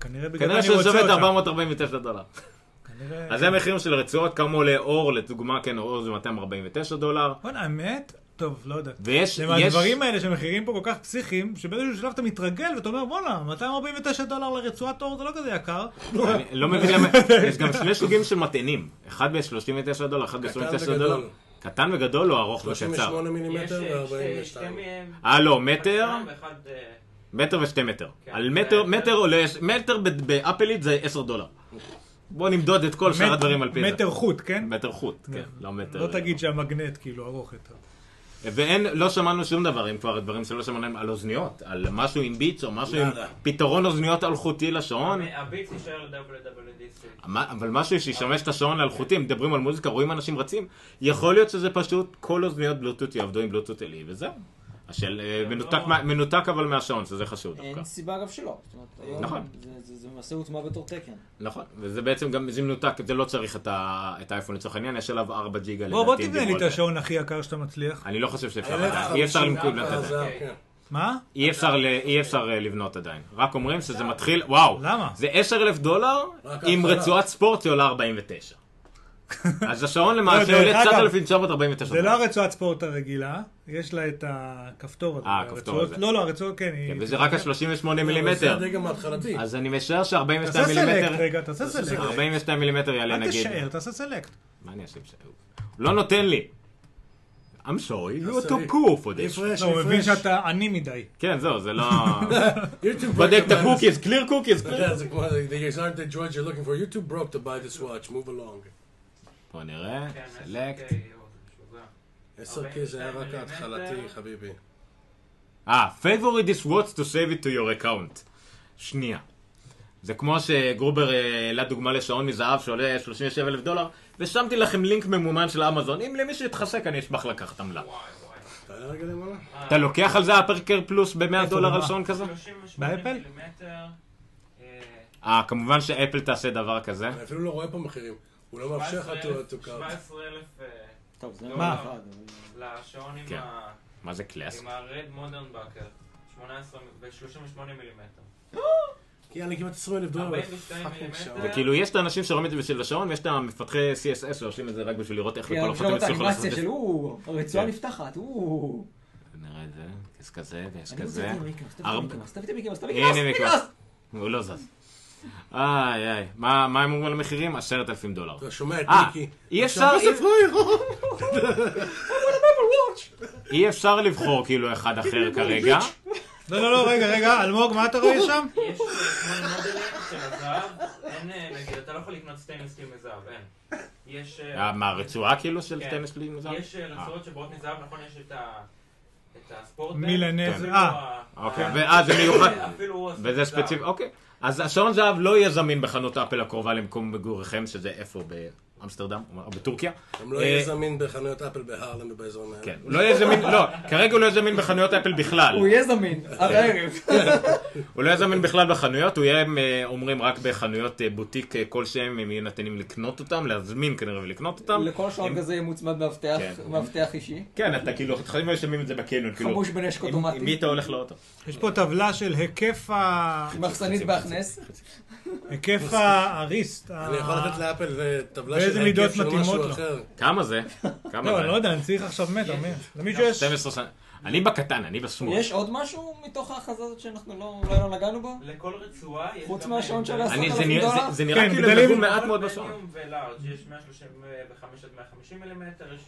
כנראה בגלל זה
כנראה
אני
שזה
רוצה
שווה את
אותה.
449 דולר.
כנראה-
אז זה המחירים של הרצועות, כמה עולה אור, לדוגמה, כן, אור זה 249 דולר.
בואנה, נכון, האמת? טוב, לא יודע.
ויש,
זה
יש,
מהדברים האלה שמחירים פה כל כך פסיכיים, שבאיזשהו שלב אתה מתרגל ואתה אומר, בואנה, 249 דולר לרצועת אור זה לא כזה יקר.
אני לא מבין למה, יש גם שני סוגים של מטענים, אחד ב-39 דולר, אחד ב-29 דולר.
וגדול.
קטן וגדול או ארוך וקצר?
38
יש
מילימטר
אה, שתי- שתי
ו-42.
מהם,
אה לא, מטר,
אחד ואחד, אה,
מטר ושתי מטר.
כן,
על
זה
מטר,
יותר.
מטר עולה, מטר ב- באפלית זה 10 דולר. בוא נמדוד את כל שאר
מט-
הדברים על פי זה.
מטר חוט, כן?
מטר חוט, כן, לא מטר.
לא תגיד שהמגנט כאילו ארוך יותר.
ואין, לא שמענו שום דבר, אם כבר דברים שלא שמענו להם, על אוזניות, על משהו עם ביץ או משהו עם
נאדה.
פתרון אוזניות אלחוטי לשעון.
הביץ אה, יישאר ל-WWDC.
מה- אבל משהו שישמש את השעון לאלחוטי, אם מדברים על מוזיקה, רואים אנשים רצים, יכול להיות שזה פשוט כל אוזניות בלוטוט יעבדו עם בלוטוט עלי, וזהו. השאל, אה, מנותק
לא-
מה- מנותק אבל מהשעון, שזה חשוב דווקא.
אין סיבה אגב שלא. זאת אומרת, היום
נכון.
זה- זה זה למעשה הוטמע בתור תקן.
נכון, וזה בעצם גם, זה מנותק, זה לא צריך את, ה, את האייפון לצורך העניין, יש עליו 4 ג'יגה
בוא, בוא
לדעתי,
תבנה לי
דיברו
את
על זה.
השעון הכי יקר שאתה מצליח.
אני לא חושב שאפשר לדעת, אי אפשר למכור
אה,
לבנות את זה.
אה,
כן.
מה?
אי אפשר, ל, אי אפשר אה, לבנות עדיין. רק אומרים שזה מתחיל, וואו.
למה?
זה 10,000 דולר
רק
עם
ההתחלה.
רצועת ספורט שעולה 49. אז השעון למעשה
לא, דרך
עולה
אגב,
9,949
זה לא
דולר.
הרצועת ספורט הרגילה, יש לה את הכפתור הזה.
אה, הכפתור
הרצועות-
הזה.
לא, לא, הרצועות, כן. היא-
וזה רק ה-38 מילימטר.
זה הדגם ההתחלתי.
אז אני משער ש-42
תעשה סלקט
מילימטר,
רגע, תעשה סלקט.
42 מילימטר יעלה
אל
נגיד.
תשאר, תעשה סלקט.
מה אני אעשה עם זה? הוא לא נותן לי. I'm sorry, you are
עשה לי.
too cool for this.
רפרש,
לא, הוא מבין
רפרש.
שאתה עני מדי.
כן, זהו, זה לא...
YouTube
בודק
broke
את
the buy
הקוקיז, clear cookies.
this- Yeah, זה כמו, these aren't the droids you're looking for. YouTube broke to buy this watch, move along.
בוא נראה,
כן,
סלקט.
10K, או, זה משוגע.
10K זה היה רק ההתחלתי, חביבי.
אה, favorite this watch to save it to your account. שנייה. זה כמו שגרובר אה, העלה דוגמה לשעון מזהב שעולה 37 אלף דולר, ושמתי לכם לינק ממומן של אמזון. אם למישהו יתחסק, אני אשמח לקחת עמלה.
תעלה רגע למעלה.
אתה לוקח על זה הפרקר פלוס ב-100 דולר
ומה?
על שעון כזה?
38
באפל?
מילימטר, אה,
אה, כמובן שאפל תעשה דבר כזה.
אני אפילו לא רואה פה מחירים. הוא לא מאפשר לך to- to count.
17,000 אה,
טוב, זה
לא,
מה?
לא. לשעון עם
כן.
ה-
מה זה
עם
קלאס?
ה-Red Modern Bucker. 18 ו-38 מילימטר.
יאללה, כמעט 20 אלף דולר.
42
פאקינג
מילימטר.
שעון.
וכאילו, יש את האנשים שרואים את זה בשביל השעון, ויש את המפתחי CSS שעושים את זה רק בשביל לראות איך
כי
לכל הפרטים
כן, עכשיו את
הצליחו לעשות
האנימציה
את זה.
של או, הרצועה
כן.
נפתחת, או.
נראה את זה, יש כזה ויש
אני רוצה
כזה.
את לא, מיקי מאוס,
ארבע-
תביא את מיקי מאוס, תביא את מיקי מאוס, תביא את מיקי מאוס,
הנה
מיקי
מיקרוס.
מאוס.
הוא לא זז. איי איי, מה מה הם אומרים על המחירים? עשרת אלפים דולר.
אתה שומע את
אה,
מיקי?
אי אפשר, אי-
לא
אי אפשר לבחור כאילו אחד אחר כרגע.
לא, לא, לא, רגע, רגע, אלמוג, מה אתה רואה שם?
יש אה, שמונה מודלים של הזהב, אין, אה, נגיד, אתה לא יכול לקנות סטיינלס סטיל מזהב, אין. יש... אה,
אה, מה, הרצועה כאילו של
כן.
טנס שלי מוזר?
יש אה, רצועות שבאות מזהב, נכון, יש את ה... את הספורט.
מילנז,
אפילו
אה,
ה-
אוקיי,
ה-
ואז זה מיוחד.
אפילו הוא עושה
וזה
מזהב.
ספציפי, אוקיי. אז השעון זהב לא יהיה זמין בחנות אפל הקרובה למקום מגוריכם, שזה איפה? באמסטרדם? או בטורקיה?
גם לא
אה,
יהיה זמין בחנויות אפל בהרלם ובאזורים האלה.
כן, הוא לא יהיה זמין, לא, כרגע הוא לא יהיה זמין בחנויות אפל בכלל.
הוא יהיה זמין, עד הערב.
כן.
הוא לא יהיה זמין בכלל בחנויות, הוא יהיה, הם, אה, אומרים, רק בחנויות אה, בוטיק אה, כלשהם, הם יהיו נתנים לקנות אותם, להזמין כנראה ולקנות אותם.
לכל שעון
הם-
כזה יהיה מוצמד מאבטח,
כן.
מאבטח אישי.
כן, אתה כאילו, התחלנו לשלמים את זה בקניון, כאילו.
חמוש בנשק
עם-
אוטומטי.
עם מי אתה הולך לאוטו?
יש פה טבלה של היקף ה...
מחסנית בהכנס.
היקף האריסט. ה-
אני יכול לתת לאפל אה, טבלה
באיזה
של
מידות
היקף של
מתאימות
משהו
לו?
אחר.
כמה זה? כמה
לא,
זה?
אני לא יודע, אני צריך עכשיו מטר,
אה,
מי? למישהו יש?
12 שנה. אני בקטן, אני בשמאל.
יש עוד משהו מתוך ההכרזה הזאת שאנחנו לא אולי לא נגענו בו?
לכל רצועה יש...
חוץ
גם אה,
מהשעון של
מודל.
עשרת
אני- זה
אלפים
נראה-
דולר?
זה- זה נראה
כן,
כאילו הם
גדלים-
נגעו מעט מאוד
כל
בשעון.
מדיום ולארג' יש 135 עד 150 מילימטר, יש...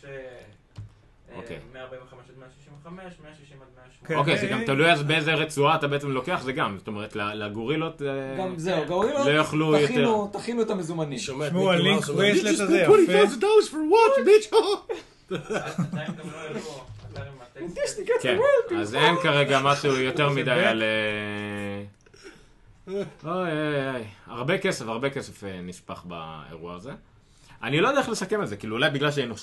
ש- אה,
אוקיי.
145 עד 165, 160 עד 180.
כן.
אוקיי, זה
אה,
גם
אה.
תלוי אז באיזה רצועה אתה בעצם לוקח, זה גם. זאת אומרת, ל- לגורילות... אה,
גם זהו, גאורילות,
לא יאכלו יותר.
תכינו- תכינו את המזומנים.
שומע את
תשמעו,
מיקי
הלינק
מאוס אומר,
יש
"You just
לזה
paid
יפה."
$20,000 for what, bitch?
עדיין גם לא העלו אתר עם הטקסט.
כן, אז אין כרגע משהו יותר מדי על... אה, אוי אוי אוי, הרבה כסף, הרבה כסף אה, נשפך באירוע הזה. אני לא יודע איך לסכם את זה, כאילו אולי בגלל שהיינו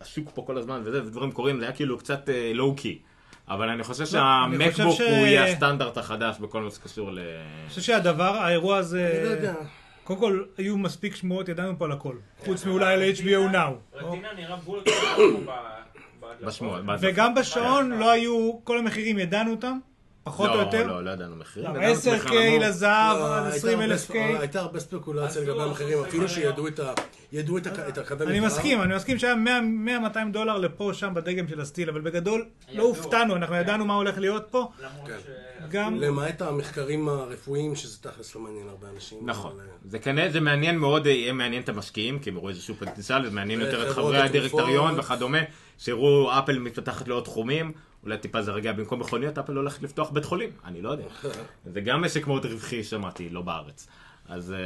עסוק פה כל הזמן וזה, ודברים קורים, זה היה כאילו קצת לואו-קי. אבל אני חושב
לא, אני חושב
שהמקבוק
ש-
הוא יהיה הסטנדרט החדש בכל מה שקשור ל...
אני חושב שהדבר, האירוע הזה...
אני לא יודע.
קודם כל, היו מספיק שמועות, ידענו פה על הכל. חוץ מאולי על HBO Now. או?
רטינה נראה בול
בשמוע,
בשמועות.
בהדלפות.
וגם בשעון לא היו, כל המחירים ידענו אותם, פחות או
לא,
יותר.
לא, לא ידענו מחירים. ידענו את מחיר
10K
הנמוך.
לזהב,
לא,
עד
הייתה
20,000K.
הרבה- הייתה הרבה ספקולציה
אסור,
לגבי
אסור
המחירים, אפילו
לספר היום.
שידעו את ה... ידעו את ה- את הקווי
אני
מתאר.
מסכים, אני מסכים שהיה 100-200 דולר לפה שם בדגם של הסטיל, אבל בגדול לא
ידוע.
הופתענו, אנחנו ידענו מה הולך להיות פה.
למרות
כן.
ש...
גם
למעט המחקרים הרפואיים, שזה תכלס לא מעניין הרבה אנשים.
נכון.
אבל, אה,
זה כנראה, זה מעניין מאוד, אה, יהיה מעניין את המשקיעים, כי הם יראו איזשהו פוטנציאל, זה מעניין יותר את
וחברות
חברי הדירקטוריון
התרופות.
וכדומה, שיראו אפל מתפתחת לעוד תחומים, אולי טיפה זה רגע, במקום מכוניות, אפל הולכת לפתוח בית חולים, אני לא יודע. זה גם עסק מאוד רווחי, שמעתי, לא בארץ. אז אה,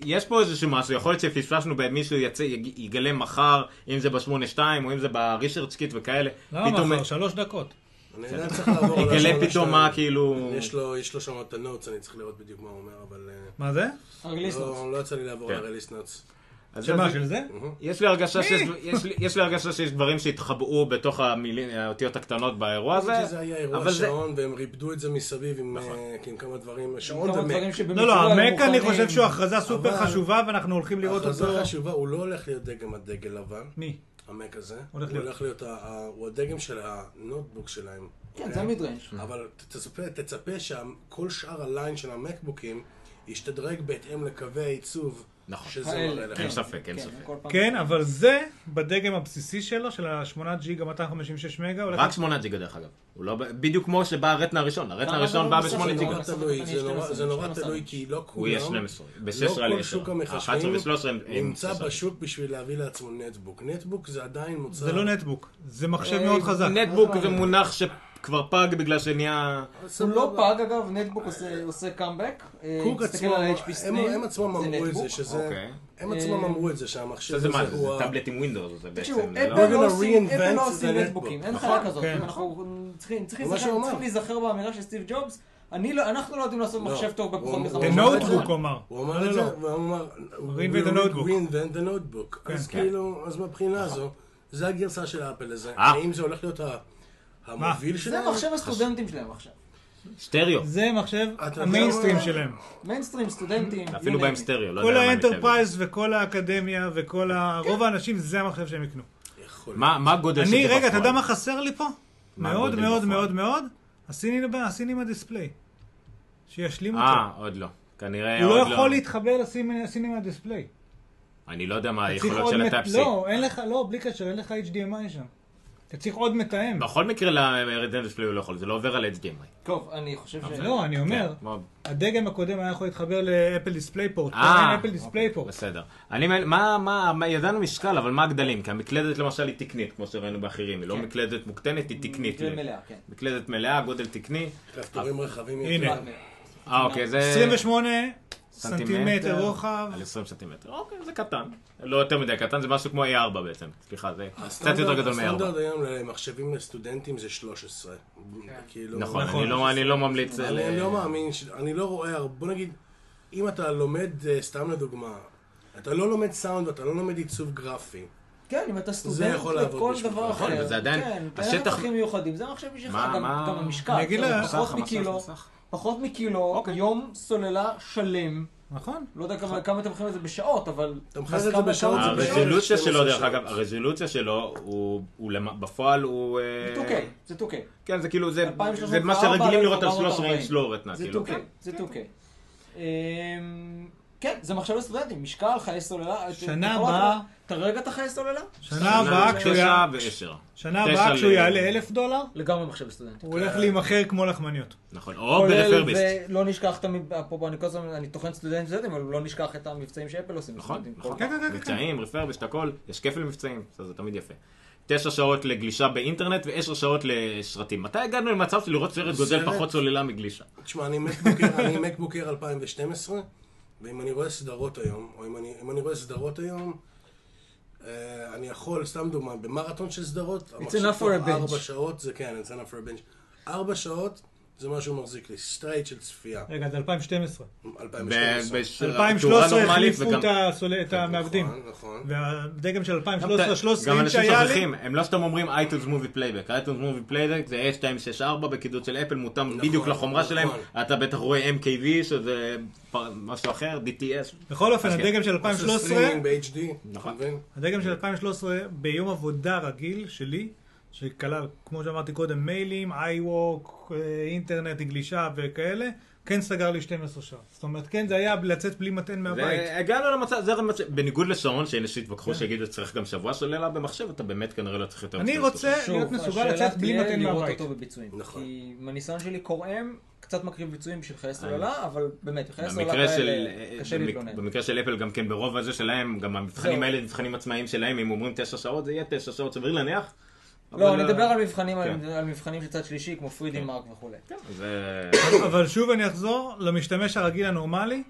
יש פה איזשהו משהו, יכול להיות שפספסנו במישהו יצא, יג- יגלה מחר, אם זה ב-82 או אם זה ברישרצ' קיט וכאלה.
למה
פתאום-
מחר? לא, שלוש דקות.
אני עדיין צריך לעבור על
יגלה
השעון
פתאום
השעה.
מה כאילו...
יש לו- יש לו שם את הנוטס, אני צריך לראות בדיוק מה הוא אומר, אבל... אה,
מה זה?
הרליסט.
לא לא יצא לי לעבור
כן.
על רליס נוטס.
אז
שמה,
אז-
של זה?
יש לי הרגשה שיש, יש, לי, יש לי הרגשה שיש דברים שהתחבאו בתוך המילים, האותיות הקטנות באירוע הזה.
זה היה אירוע
אבל זה- נכון.
שעון, והם ריפדו את זה מסביב עם אה, כן, כמה דברים. שעון
כמה
ומק.
דברים שבמקרה
לא, לא,
היו
המק אני
מוכנים.
חושב שהוא הכרזה סופר
אבל-
חשובה, ואנחנו הולכים לראות
ההכרזה
אותו.
החשובה, הוא לא הולך להיות דגם הדגל לבן,
מי?
המק הזה. הוא
הולך להיות.
הולך להיות, ה- ה- הוא הדגם של הנוטבוק שלהם.
Mm-hmm.
כן, זה המידרנג'.
אבל ת- תצפה, תצפה שם, כל שאר הליין של המקבוקים ישתדרג בהתאם לקווי העיצוב.
נכון.
אה,
שזה מראה לך.
אין ספק, אין ספק.
כל פעם.
כן, אבל זה בדגם הבסיסי שלו, של ה-8 ג'יגה 256 מגה, הולך
רק שמונה ג'יגה דרך אגב. הוא לא, ב- בדיוק כמו שבא הרטנה הראשון, הרטנה
למה
הראשון
זה
בא
לא
בשמונה
בסוף?
זה
ג'יגה.
נורא תלוי, זה נורא- זה נורא תלוי, כי לא כולם...
הוא יהיה 12. ב-16
לא כל
ל-10.
שוק
11
המחשבים
ו-13 הם- הם
נמצא
16.
בשוק בשביל להביא לעצמו נטבוק. נטבוק זה עדיין מוצר...
זה לא נטבוק, זה מחשב מאוד חזק.
נטבוק זה מונח שכבר פג בגלל שנהיה...
הוא לא פג אגב, נטבוק עושה- עושה קאמבק. אה,
קוק
תסתכל
עצמו,
על ה-HP
הם-
סנייל,
הם עצמם
זה
אמרו את
נטבוק.
זה, שזה...
אוקיי.
הם
אה,
עצמם אמרו את זה, שהמחשב
זה
הזה
מה זה? זה
הוא... ה-
טאבלט עם ווינדוס, זה
תקשיבו,
בעצם...
אפל
לא?
We're gonna
לא עושים-
reinvent
אפל
the
לא עושים
netbook.
נטבוקים, אין
נכון,
חיה כזאת.
כן.
אנחנו צריכים צריכים
זה מה שהוא
להיזכר-
אמר.
צריכים להיזכר באמירה של סטיב ג'ובס. אני לא- אנחנו לא יודעים לעשות
לא.
מחשב טוב
הוא-
בפחות
הוא
The
מחמש.
אמר את זה.
Notebook, הוא אמר.
הוא
לא,
אמר את
לא,
זה, והוא אמר...
reinvent
"We
the notebook". נכון.
reinvent the notebook. אז
כן.
כאילו, אז מהבחינה הזו, זה הגרסה של האפל הזה.
אה.
האם זה הולך להיות ה- המוביל
זה
שלהם?
מחשב הסטודנטים שלהם עכשיו.
סטריאו.
זה מחשב
יודע
המיינסטרים
מה?
שלהם.
מיינסטרים, סטודנטים.
אפילו
you
בהם
name it.
סטריאו. לא
כל
יודע מה הם
האנטרפרייז וכל האקדמיה וכל ה... רוב האנשים, זה המחשב שהם יקנו.
יכול
מה מה הגודל של זה נכון.
אני, רגע, אתה
בפועל?
יודע מה חסר לי פה? מאוד
גודל
מאוד
בפועל?
מאוד מאוד, הסינים הבא- הסינים הדיספליי. שישלים אותו.
אה, עוד לא. כנראה
הוא
עוד
לא
לא.
יכול להתחבר לסינים הסינים הדיספליי.
אני לא יודע מה
אתה צריך
היכולות
עוד
של
מת-
הטאפסי.
לא, אין לך, לא, בלי קשר, אין לך HDMI שם. אתה צריך עוד מתאם.
בכל מקרה לרדנדס פליי הוא לא יכול, זה לא עובר על HDMI.
טוב, אני חושב ש...
לא, אני אומר,
כן, כמו-
הדגם הקודם היה יכול להתחבר לאפל דיספליי פורט.
אה,
אין אפל דיספליי פורט.
בסדר. אני, מל- מה, מה, מה, ידענו משקל, אבל מה הגדלים? כי המקלדת למשל היא תקנית, כמו שראינו באחרים. היא לא מקלדת מוקטנת, היא תקנית.
מקלדת מלאה, כן.
מקלדת מלאה, גודל תקני.
כפתורים רחבים
הנה.
יותר.
אה, אוקיי, זה...
28 סנטימטר רוחב.
על 20 סנטימטר. אוקיי, זה קטן. לא יותר מדי קטן, זה משהו כמו A4 בעצם. סליחה, זה קצת יותר גדול
הסטנדרט
מ-A4.
היום למחשבים לסטודנטים זה 13. כאילו-
נכון, אני לא- אני לא ממליץ... על-
אני לא מאמין, ש- אני לא רואה, הרבה- בוא נגיד, אם אתה לומד, אה, סתם לדוגמה, אתה לא לומד סאונד ואתה לא לומד עיצוב גרפי.
כן, אם אתה סטודנט
יכול לעבוד
לכל
בשבילך.
דבר
נכון,
אחר.
וזה עדיין-
כן, אין לך
השטח-
צרכים מיוחדים, זה המחשב בשבילך,
מה-
גם
מה-
גם המשקל.
אני אגיד
אתה יודע,
לה-
פחות
המסך,
מקילו,
המסך.
פחות מקילו,
אוקיי.
יום סוללה שלם.
נכון.
לא יודע כמה- כמה אתם מחייבים את זה בשעות, אבל...
אתה מחייב
אז
את זה
כמה-
בשעות,
אה,
כמה זה
זה
בשעות?
בשעות.
הרזולוציה שלו, דרך
12
אגב, הרזולוציה שלו, הוא- הוא למ- בפועל הוא... אה,
2K, זה 2K.
כן, זה כאילו, זה
2304,
זה מה שרגילים לראות על
440.
13 אינץ' לא רטנה,
זה
כאילו.
2K, זה 2K. אמ, כן, זה מחשב לסטודנטים, משקל, חיי סוללה.
שנה
אתה- אתה-
הבאה-
תרגע את החיי סוללה?
שנה הבאה כשהוא יע-
ועשר.
שנה
תשע
הבאה כשהוא
ל-
יעלה אלף דולר,
לגמרי מחשב לסטודנטים.
הוא הולך להימכר כמו לחמניות.
נכון, או
כולל,
ברפרביסט.
ולא נשכח את המבצעים, אפרופו, אני כל הזמן, אני טוחן סטודנטים סטודנטים, אבל לא נשכח את המבצעים שאפל עושים.
נכון,
לסטודנטים.
נכון.
כן, כן, כן, כן.
מבצעים, רפרביסט, הכל, יש כפל מבצעים, אז זה תמיד יפה. תשע שעות לגלישה באינטרנט ועשר שעות לשרתים. מתי הגענו למצב של לראות סרט גודל
סרט.
פחות סוללה מגלישה?
תשמע, אני מקבוקר- אני מקבוקר 2012, ואם אני רואה סדרות היום, או אם אני, אם אני רואה סדרות היום, אה, אני יכול, סתם דוגמה, במרתון של סדרות, המחשב
enough
פה
for a bench.
ארבע שעות, זה כן, it's enough for a bench. ארבע שעות, זה מה שהוא מחזיק לי, סטרייט של צפייה,
רגע, זה 2012.
ב-
2012.
בש- בצורה
2013
נורמלית
החליפו
וגם...
את הסול- את המעבדים.
נכון, נכון.
והדגם של
גם
2013, 13
גם
אינץ'
אנשים
היה לי,
שוכחים, הם לא סתם אומרים אייטונס מובי פלייבק, אייטונס מובי פלייבק זה A264 בקידוד של אפל מותאם בדיוק לחומרה
נכון.
שלהם, אתה בטח רואה MKV שזה פר- משהו אחר, DTS,
בכל אופן,
אז כן.
הדגם של
עשו
2013,
סטרימינג ב-HD, אתה
נכון.
מבין?
הדגם של 2013 ביום עבודה רגיל שלי, שכלל, כמו שאמרתי קודם, מיילים, איי-ווק, אה, אינטרנט, גלישה וכאלה, כן סגר לי 12 שעות. זאת אומרת, כן, זה היה לצאת בלי מטען מהבית.
והגענו למצב, זה המצב, בניגוד לשעון, שאלה שהתווכחו שיגידו שצריך גם שבוע סוללה במחשב, אתה באמת כנראה לא צריך יותר
כן. אני
מזה.
רוצה
שוב,
להיות מסוגל
השאלה
לצאת בלי
תהיה
מתן
לראות
מהבית.
אותו בביצועים.
נכון.
כי מהניסיון שלי קוראם, קצת מקריב ביצועים בשביל חיי סוללה, אבל באמת, חיי סוללה
אה. במקרה של, אה,
כאלה קשה
במק-
להתלונן.
במקרה של אפל גם כן ברוב הזה שלהם, גם המבחנים
לא.
זהו.
האלה הם מבחנים עצמאיים שלהם, אם אומרים תשע שעות זה יהיה תשע שעות, סביר להניח.
לא,
אבל- אה,
אני מדבר על מבחנים, על-
כן.
על מבחנים של צד שלישי, כמו פרידי מרק וכולי.
זה-
אבל שוב אני אחזור למשתמש הרגיל הנורמלי,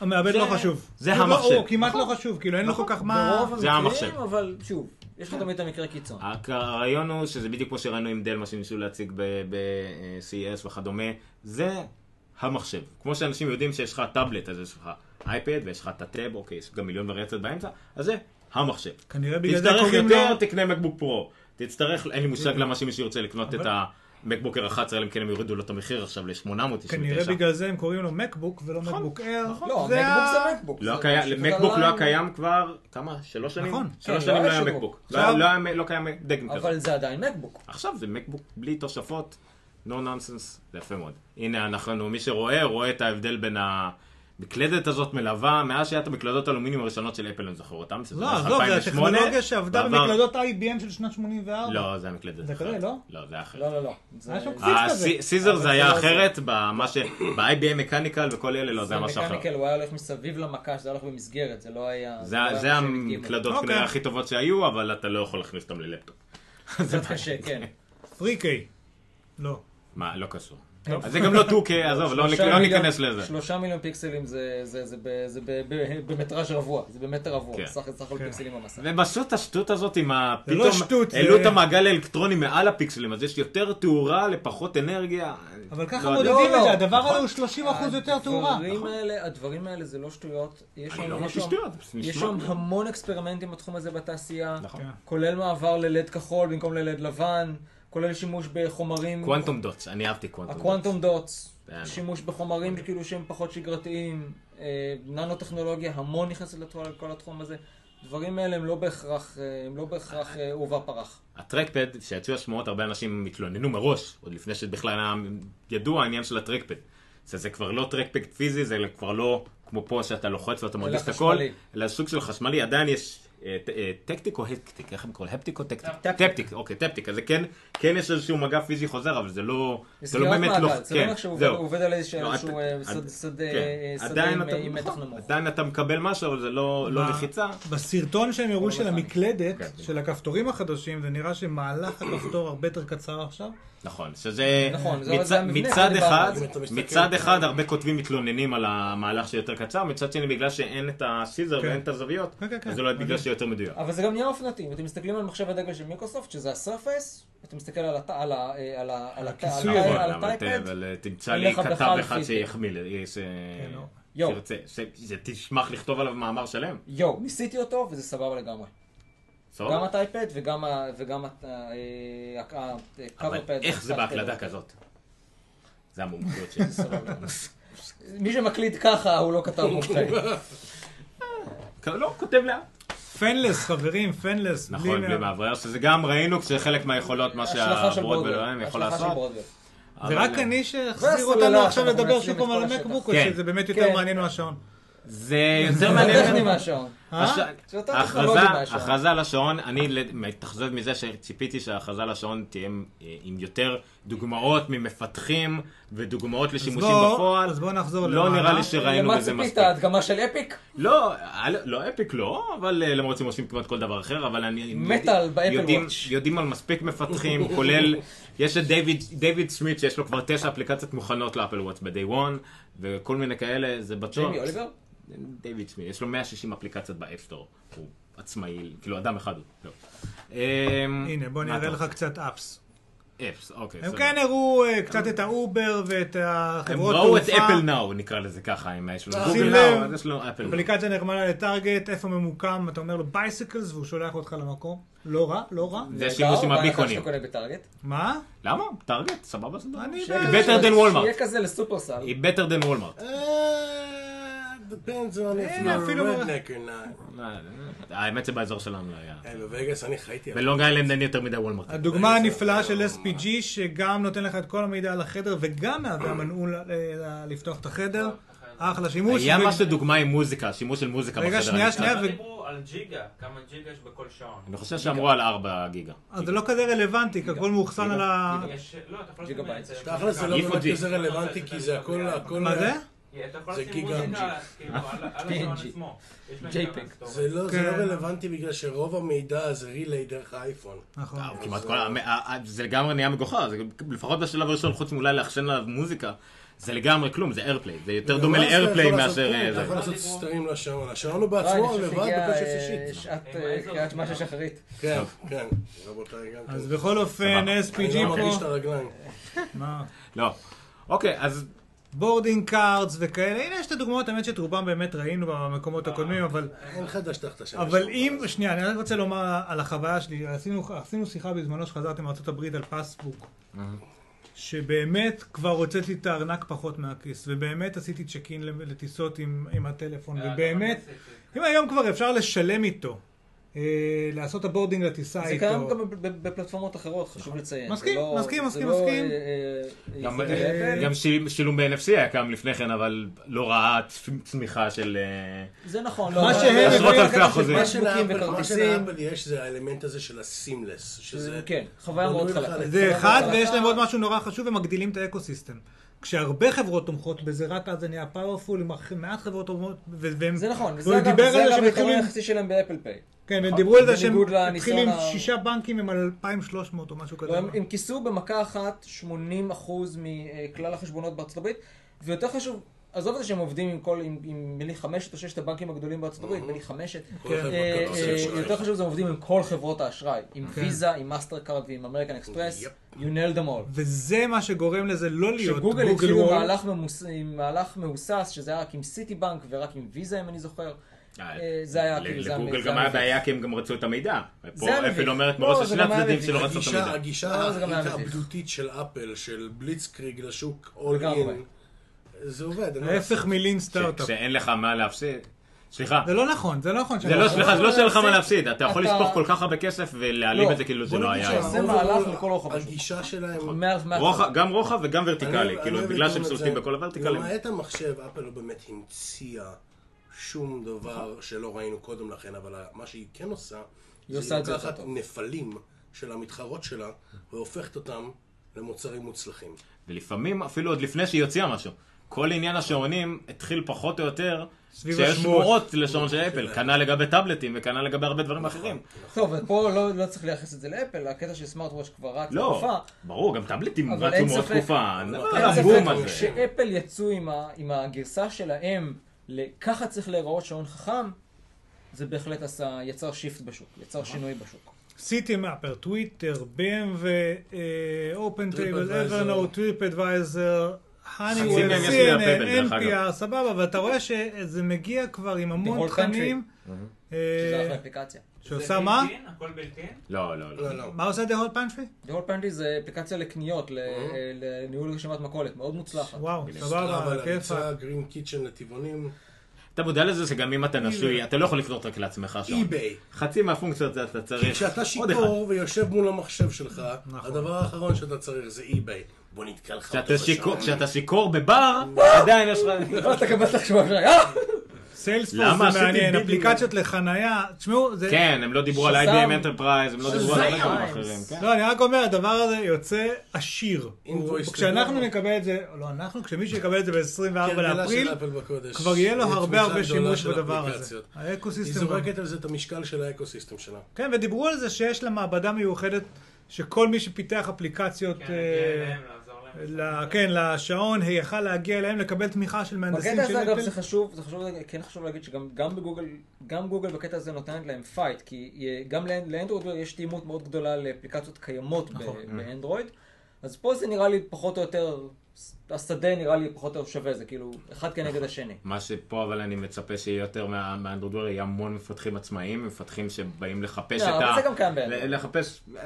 המעבד
זה-
לא חשוב.
זה
הוא לא-
המחשב. נכון.
הוא כמעט לא חשוב, כאילו אין לו כל כך מה...
ברוב
זה
המקרים,
המחשב. אה.
אבל שוב, יש לך תמיד את המקרה קיצון.
הק- הרעיון הוא שזה בדיוק כמו שראינו עם דל, מה שניסו להציג ב-CES E וכדומה, זה המחשב. כמו שאנשים יודעים שיש לך טאבלט, אז יש לך אייפד ויש לך את הטאב, אוקיי, יש גם מיליון וריאציות באמצע, אז זה המחשב.
כנראה בגלל זה
תצטרך
קוראים
יותר,
לו...
תקנה מקבוק פרו. תצטרך, אין לי מושג למה שמישהו ירצה לקנות את המקבוקר 11, אלא אם כן הם יורידו לו את המחיר עכשיו ל-899.
כנראה בגלל זה הם קוראים לו מקבוק ולא מקבוק אייר.
לא, מקבוק זה מקבוק.
נכון. לא
זה-
היה
זה
קיים, מקבוק לא היה
עדיין-
קיים כבר, כמה? שלוש שנים?
נכון.
כן,
שלוש שנים
לא
לא
היה
היה
שבו.
מקבוק. לא
עכשיו-
היה- לא היה- לא קיים דגם כזה.
אבל זה עדיין מקבוק.
עכשיו זה מקבוק בלי תוספות, no nonsense, זה יפה מאוד. הנה אנחנו, מי שרואה, רואה את ההבדל בין המקלדת הזאת מלווה, מאז שהיה את המקלדות האלומיניום הראשונות של אפל, אני זוכר אותן, שזה
לא,
בערך
עזוב, זה
2008,
הטכנולוגיה שעבדה
ועבר-
במקלדות IBM של שנת 84.
לא, זה המקלדת.
זה
אחרת.
כזה, לא?
לא, זה אחר.
לא, לא, לא. זה-
היה שם
זה-
קפיץ כזה.
הסי- סיזר
אבל
אה, זה היה
זה לא זה.
אחרת, במה ש... ב-IBM מקניקל וכל אלה, לא, זה היה משהו אחר.
מקניקל, הוא היה הולך מסביב למכה, שזה היה הולך במסגרת, זה לא היה...
זה-
לא היה
זה
מחשב עם גימל.
המקלדות
אוקיי.
כנראה הכי טובות שהיו, אבל אתה לא יכול להכניס אותן ללפטופ.
קצת קשה, כן.
3K. לא.
מה, לא קשור. אז זה גם לא 2K, עזוב, לא
שלושה
לא
מיליון-
ניכנס לזה.
שלושה מיליון פיקסלים זה- זה זה ב- זה ב- ב- במטראז' רבוע, זה במטר רבוע,
כן.
סך סך הכל
כן.
פיקסלים במסך.
והם עשו את השטות הזאת עם ה...
זה לא שטות, זה-
העלו את המעגל האלקטרוני מעל הפיקסלים, אז יש יותר תאורה לפחות אנרגיה.
אבל ככה
לא, נכון. אה,
מודדים
לא,
את
לא.
זה, הדבר הזה הוא 30% יותר תאורה.
הדברים האלה, הדברים האלה זה לא שטויות. יש שם-
לא
יש
אמרתי
שם-
שטויות, זה נשמע
יש שם
כמו-
המון אקספרימנטים בתחום הזה בתעשייה,
נכון.
כן.
כולל מעבר ללד כחול במקום ללד לבן, כולל שימוש בחומרים,
קוונטום דוטס, אני אהבתי קוונטום דוטס.
הקוונטום דוטס,
כן.
שימוש בחומרים כאילו שהם פחות שגרתיים, אה, ננו טכנולוגיה, המון נכנסת לכל התחום הזה. הדברים האלה הם לא בהכרח, אה, הם לא בהכרח אה, עורבא פרח.
הטרקפד, שיצאו השמועות, הרבה אנשים התלוננו מראש, עוד לפני שבכלל היה ידוע העניין של הטרקפד. זה, זה כבר לא טרקפד פיזי, זה כבר לא כמו פה שאתה לוחץ ואתה מרגיש את הכל,
חשמלי.
אלא סוג של חשמלי, עדיין יש אה, ט- אה, טקטיק או הפטיק, איך הם קוראים? הפטיק או טקטיק?
טפטיק.
טפטיק, אוקיי, טפטיק. אז זה כן, כן יש איזשהו מגע פיזי חוזר, אבל זה לא, זה לא
סגירת
באמת לא,
מעגל, זה לא
כן,
אומר שהוא
זהו.
עובד- הוא עובד על איזשהו-
לא,
איזשהו, אה,
עד-
שד-
עד-
שד-
כן.
אה, שדה
עדיין
עם-
אתה-
עם מתח
נכון,
נמוך.
עדיין אתה מקבל משהו, אבל זה לא לא
מה?
לחיצה.
בסרטון שהם הראו של
מכני.
המקלדת,
כן.
של הכפתורים החדשים, זה נראה שמהלך הכפתור הרבה יותר קצר עכשיו.
נכון, שזה
נכון, זה-
מצ...
זה המבנה,
מצד
זה
אחד,
דיברנו.
אם אתה מסתכל-
מצד אחד הרבה כותבים מתלוננים על המהלך שיותר קצר, מצד שני בגלל שאין את הסיזר
כן.
ואין את הזוויות,
כן, כן, כן.
אז זה לא בגלל שיותר מדויק.
אבל זה גם נהיה אופנתי, אם אתם מסתכלים על מחשב הדגל של מיקרוסופט, שזה הסרפס, אתה מסתכל על הת- על ה- אה, על ה- על הת-
הכיסוי,
על ה-
נכון,
על
אבל ת-
הטייפד,
אבל אה, תמצא
אין
לי
לך
כתב
בכלל
אחד
פיזי.
שיחמיא, לי, אה, ש-
לא.
כן, יואו.
שירצה, ש- שתשמח לכתוב עליו מאמר שלם.
יואו, ניסיתי אותו וזה סבבה לגמרי. גם
סבבה?
הטייפד וגם ה- וגם ה- אה, ה- ה-
אבל
cover pad,
איך זה
touch pad.
בהקלדה כזאת? זה המומחיות שלי.
סבבה. מי שמקליד ככה הוא לא כתב מומחה.
לא, הוא כותב לאט.
פנלס, חברים, פנלס.
נכון, בלי
מה-
מאוורר, שזה גם ראינו כשחלק מהיכולות, מה
השלכה של
שהברודווי
ברודווי.
אלוהים אה, יכול
השלכה של
לעשות.
ברודווי.
זה
אבל-
רק אני שהחזיר
והסוללה,
אותנו עכשיו
שאנחנו
לדבר
מנצלים
שוב פעם
את
על
כל השטח.
המקבוק, או
כן.
שזה באמת
כן.
יותר מעניין מהשעון.
זה יותר
זה
מעניין.
טכני מהשעון.
אה?
שאתה
ההכרזה
טכנולוגי מהשעון.
ההכרזה על השעון, אני לד- מתאכזב מזה שציפיתי שההכרזה על השעון תהיה אה, עם יותר דוגמאות ממפתחים ודוגמאות לשימושים
בוא-
בפועל.
אז בוא נחזור
לא
למעלה.
נראה לי שראינו
למה
בזה
ציפית?
מספיק.
הדגמה של אפיק?
לא, אל- לא אפיק לא, אבל אה, למרות שהם עושים כמעט כל דבר אחר, אבל אני...
מטאל
יודעים-
באפל
יודעים-
וואץ'.
יודעים על מספיק מפתחים, כולל... יש את דיוויד- דיוויד סמית שיש לו כבר תשע אפליקציות מוכנות לאפל וואץ ב-day one, וכל מיני כאלה, זה בטוח.
ג'יימי אוליבר?
דיוויד סמית, יש לו 160 אפליקציות באפסטור, הוא עצמאי, כאילו אדם אחד הוא. לא. אמ,
הנה, בוא אני
מה
אראה לך
אתה-
קצת אפס.
אפס, אוקיי.
הם
סבבה.
כאן הראו אה, קצת את האובר ואת
הם
החברות
ראו
תעופה.
את אפל נאו, נקרא לזה ככה, אם יש לו גוגל
לב.
נאו, אז יש לו אפל נאו.
אפליקציה נחמדה לטארגט, איפה ממוקם, אתה אומר לו בייסקלס והוא שולח אותך למקום. לא רע, לא רע.
זה שימוש עם
בהנחה
הביקונים.
שאתה קונה בטארגט.
מה?
למה? טארגט, סבבה, סבבה.
אני
She-
יודע.
better than
שיהיה
Walmart.
כזה לסופרסל.
היא better than Walmart.
אה, depends on if
אין,
you're
אפילו
a
לא.
redneck or not.
אה, האמת שבאזור שלנו לא היה.
אה, בווגאס אני חייתי. על-
בלונג איילנד אין יותר מדי וולמרט.
הדוגמה
איזה
הנפלאה של
יום.
SPG שגם נותן לך את כל המידע על החדר וגם מהווה מנעול אה, לפתוח את החדר. אחלה שימוש.
היה
ו-
משהו דוגמה עם מוזיקה, שימוש של מוזיקה בחדר.
רגע, שנייה,
אני-
שנייה.
אבל
ו-
דיברו על ג'יגה, כמה ג'יגה יש בכל שעון.
אני חושב שאמרו על 4 גיגה.
אז זה לא כזה רלוונטי, כי הכל מאוחסן על ה...
יש- לא, אתה יכול
ג'יגה
לשים את
בייט.
זה-
תכל'ס זה לא
איפה
באמת
ג'י?
כזה רלוונטי, כי זה הכל... הכל-
מה זה?
אתה יכול
זה
לשים
גיגה.
מוזיקה, כאילו, על על השעון
PNG.
עצמו. יש להם
JPEG.
גם סטורי.
זה לא זה לא
כן.
רלוונטי בגלל שרוב המידע זה ריליי דרך האייפון.
נכון.
אה, הוא כמעט כל... ה- ה- ה- זה לגמרי נהיה מגוחך, זה- לפחות בשלב הראשון, חוץ מאולי לאחשן עליו מוזיקה, זה לגמרי כלום, זה איירפליי, זה יותר דומה
וגם אז אתה יכול
לאיירפליי
לעשות-
מאשר...
כן,
אה,
אתה
זה.
יכול לעשות
דיברו.
סטרים לשעון. השעון הוא
לא, נכון. אני
בעצמו
חושב
לבד
שהגיעה,
בפשט
אה,
שישית.
שעת
אה,
אה,
איזו-
קריאת שמע של שחרית.
כן, כן. רבותיי, גם כן.
אז בכל אופן,
אני לא
SPG
מרגיש את
פה,
הרגליים.
מה?
לא. אוקיי, אז
בורדינג קארדס וכאלה, הנה יש את הדוגמאות, האמת שאת רובם באמת ראינו במקומות הקודמים, אבל...
אין חדש תחת השמש.
אוקיי,
אבל אם, שנייה, אני רק רוצה לומר על החוויה שלי, עשינו, עשינו שיחה בזמנו שחזרתי מארה"ב על פסבוק, שבאמת כבר הוצאתי את הארנק פחות מהכיס, ובאמת עשיתי צ'ק אין לטיסות עם, עם הטלפון,
אה,
ובאמת,
גם עשיתי.
אם היום כבר אפשר לשלם איתו, אה, לעשות הבורדינג לטיסה
זה
איתו,
קיים גם ב- ב- בפלטפורמות אחרות, חשוב לציין.
אה, מסכים,
זה לא-
מסכים,
זה
מסכים,
לא, אה,
מסכים.
אה,
גם,
ייחודי
אה,
לאפל.
גם שיל- שילום ב-NFC היה קם לפני כן, אבל לא ראה צ- צמיחה של... אה,
זה נכון.
מה שהם
עשרות אלפי אחוזים.
מה
מה
שהם
שלאפל- מה
וכרטיסים.
שלאפל יש זה האלמנט הזה של הסימלס, שזה...
כן, חוויה מאוד
בנוי לך
חלקה.
לתוך
זה אחד,
אבל
ויש
אתה-
להם עוד משהו נורא חשוב, הם מגדילים את האקוסיסטם. כשהרבה חברות תומכות בזה, רק אז זה נהיה פאורפול, עם הכי מעט חברות תומכות, ו- והם...
זה נכון, וזה
והוא
אגב,
דיבר על
זה
זה
אגב
שהם
היתרון
התחילו עם-
היחסי שלהם באפל פיי.
כן, הם דיברו על זה שהם
אה, בניגוד
התחילו
לניסיון
עם
ה-
שישה בנקים עם 2,300 או משהו כזה.
לא, הם, הם כיסו במכה אחת 80% מכלל החשבונות בארצות הברית, ויותר חשוב, עזוב את זה שהם עובדים עם כל, עם, עם נדמה לי חמשת או ששת הבנקים הגדולים בארצות הברית, נדמה לי חמשת.
כל
אה,
חברות
אה,
כרטיסי אשראי.
יותר חשוב, זה הם עובדים עם כל חברות האשראי, עם
אוקיי.
ויזה, עם מאסטר קארד ועם אמריקן אקספרס,
יפ.
you nailed them all.
וזה מה שגורם לזה לא להיות
שגוגל
גוגל
התחילו עם
וול.
מהלך ממוס- עם מהלך מהוסס, שזה היה רק עם סיטי בנק ורק עם ויזה, אם אני זוכר. אה, זה היה
ל-
כאילו, זה
לגוגל
המ- זה
גם היה
המביך.
בעיה כי הם גם רצו את המידע.
זה
פה
המביך.
אפל אומרת
לא,
מראש
זה
לשני
גם היה
הצדדים
מביך.
שלא רצו את
הגישה,
המידע.
לא,
הגישה
זה גם היה מביך.
ההתאבדותית של אפל, של בליצקריג לשוק אול
לגמרי.
אין, זה עובד. אני לא-
ההפך מלין סטארט-אפ.
כשאין לך מה להפסיד. סליחה.
זה לא נכון, זה לא נכון.
זה לא, סליחה, זה לא שאין לך מה
זה-
להפסיד, אתה יכול
אתה-
לשפוך כל כך הרבה כסף ולהעליב
לא,
את זה כאילו זה
בוא
לא
נגיד
היה.
שזה
שה-
מהלך
overall,
לכל אורך המשחק.
הגישה שלהם...
מאה- מאה-
רוחב- גם רוחב וגם
אני-
ורטיקלי,
אני
כאילו,
אוהב
לא
בגלל
לקרוא
שהם
לזה-
שולטים בכל הוורטיקלים.
למעט המחשב, אפל לא באמת המציאה שום
נכון.
דבר שלא ראינו קודם לכן, אבל מה שהיא כן עושה,
היא עושה את זה יותר
לוקחת
טוב.
נפלים של המתחרות שלה, והופכת אותם למוצרים מוצלחים.
ולפעמים, אפילו עוד לפני שהיא הוציאה משהו. כל עניין השעונים התחיל פחות או יותר,
סביב
שיש
השמועות.
שמועות לשעון של אפל.
כן.
כנ"ל לגבי טאבלטים וכנ"ל לגבי הרבה דברים אחרים.
טוב, ופה לא- לא צריך לייחס את זה לאפל, הקטע של סמארטוואץ' כבר רץ
לא,
תקופה.
ברור, גם טאבלטים
אבל
רצו
אין
מאוד
ספק-
תקופה.
אין
נדבר על
אין
הבום
ספק
הזה.
שאפל יצאו עם ה- עם הגרסה שלהם, ל- ככה צריך להיראות שעון חכם, זה בהחלט עשה, יצר שיפט בשוק, יצר שינוי בשוק.
סיטי מאפר, טוויטר, BM ואופן טייבל,
TripAdvisor.
אברנוט, טריפ אדוויזר,
מהם
הניוול,
יש לי
CNN,
ל-Pebble, דרך אגב.
NPR, סבבה, ואתה רואה שזה מגיע כבר עם המון
The whole country.
תכנים.
שזה
אה,
אחלה אפליקציה.
שעושה מה?
הכל בלתי-אין?
לא, לא, לא.
לא, לא.
מה עושה The Whole Pantry?
The Whole Pantry זה אפליקציה לקניות, ל-
אוקיי.
אה, לניהול רשימת מכולת, מאוד מוצלחת.
וואו,
לא,
סבבה, על
אבל
הכיפאק.
הביצה גרין קיצ'ן לטבעונים,
אתה מודע לזה שגם אם אתה נשוי, אתה לא יכול לקנות רק לעצמך שעון.
אי-ביי.
חצי מהפונקציות זה אתה צריך.
כי כשאתה
עוד אחד.
שיכור ויושב מול המחשב שלך,
נכון.
הדבר האחרון שאתה צריך זה אי-ביי. בוא נתקע לך אותו
כשאתה שיכור-
בשעון.
כשאתה שיכור בבר, עדיין יש לך...
אתה גם בטח שומע, אה!
למה
סיילספורס
עשיתי
זה מעניין,
בדיוק?
אפליקציות לחנייה, תשמעו, זה...
כן, הם לא דיברו על
שזם.
IBM Enterprise, הם לא דיברו על הרבה
שזם.
דברים אחרים. כן.
לא, אני רק אומר, הדבר הזה יוצא עשיר. הוא-
Invoice
כשאנחנו
to go.
נקבל את זה, לא אנחנו, כשמישהו יקבל את זה ב-24
כהרגלה
לאפריל,
כן, של אפל בקודש.
כבר יהיה לו
היא
הרבה
תפוצה
הרבה
גדולה
שימוש
של
בדבר הזה.
אפליקציות. היא
האקוסיסטם...
זורקת על זה את המשקל של האקוסיסטם שלה.
כן, ודיברו על זה שיש לה מעבדה מיוחדת, שכל מי שפיתח אפליקציות...
כן,
אה,
נגיע אליהם, לעזור להם.
ל- כן, לשעון, יכל להגיע אליהם לקבל תמיכה של מהנדסים
בקטע
של
הזה אגב זה
אפל.
חשוב, זה חשוב, כן חשוב להגיד שגם גם בגוגל, גם גוגל בקטע הזה נותנת להם פייט, כי אה, גם לאנ- לאנדרואיד יש תאימות מאוד גדולה לאפליקציות קיימות ב-
נכון. Mm.
באנדרואיד, אז פה זה נראה לי פחות או יותר, השדה נראה לי פחות או יותר שווה, זה כאילו אחד
נכון.
כנגד השני.
מה שפה אבל אני מצפה שיהיה יותר מה- מהאנדרודוור, יהיה המון מפתחים עצמאיים, מפתחים שבאים לחפש
לא,
את
אבל
ה...
זה גם קיים באנדרואיד.
ל- לחפש... אה,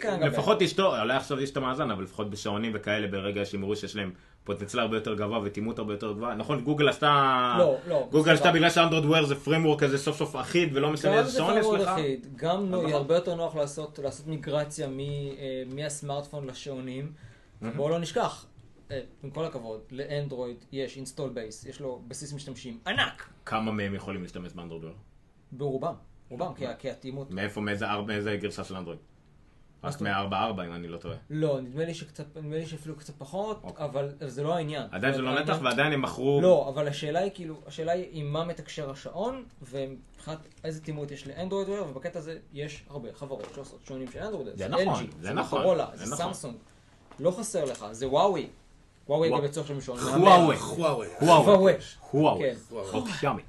קיים גם
לפחות אשתו, אולי עכשיו יש את המאזן, אבל לפחות בשעונים וכאלה, ברגע שהם יראו שיש להם פוטנציאל הרבה יותר גבוה ותימות הרבה יותר גבוהה. נכון, גוגל עשתה...
לא, לא,
גוגל
סבבה.
עשתה בגלל שהאנדרודוור זה framework כזה סוף סוף אחיד, ולא משנה
גם
איזה
לא, זה
שעון יש
פרמוד
לך.
אחיד, גם נו-
נכון.
יהיה הרבה יותר נוח לעשות לעשות מיגרציה מ- אה, מהסמארטפון לשעונים. בואו לא נשכח, אה, עם כל הכבוד, לאנדרואיד יש install base, יש לו בסיס משתמשים ענק,
כמה מהם יכולים להשתמש באנדרודוור?
ברובם, רובם, כי ה- כי התאימות...
מאיפה, מאיזה אר- מאיזה גרסה של אנדרואיד? רק
אוקיי.
מ-4.4 אם אני לא טועה.
לא, נדמה לי שקצת, נדמה לי שאפילו קצת פחות,
אוקיי.
אבל אבל זה לא העניין.
עדיין זה לא
העניין-
נתח ועדיין הם מכרו...
לא, אבל השאלה היא כאילו, השאלה היא עם מה מתקשר השעון, ומבחינת איזה תימות יש לאנדרואיד וויר, ובקטע הזה יש הרבה חברות שעושות שעונים של אנדרואיד.
זה נכון,
LG,
זה נכון,
מוטורולה,
זה
זה
נכון.
סמסונג. לא חסר לך, זה וואוי. וואוי
וואו.
גם יצור שם שעון.
וואוי.
חוואוי.
וואוי.
וואוי.
וואוי.
כן.
חופשמי.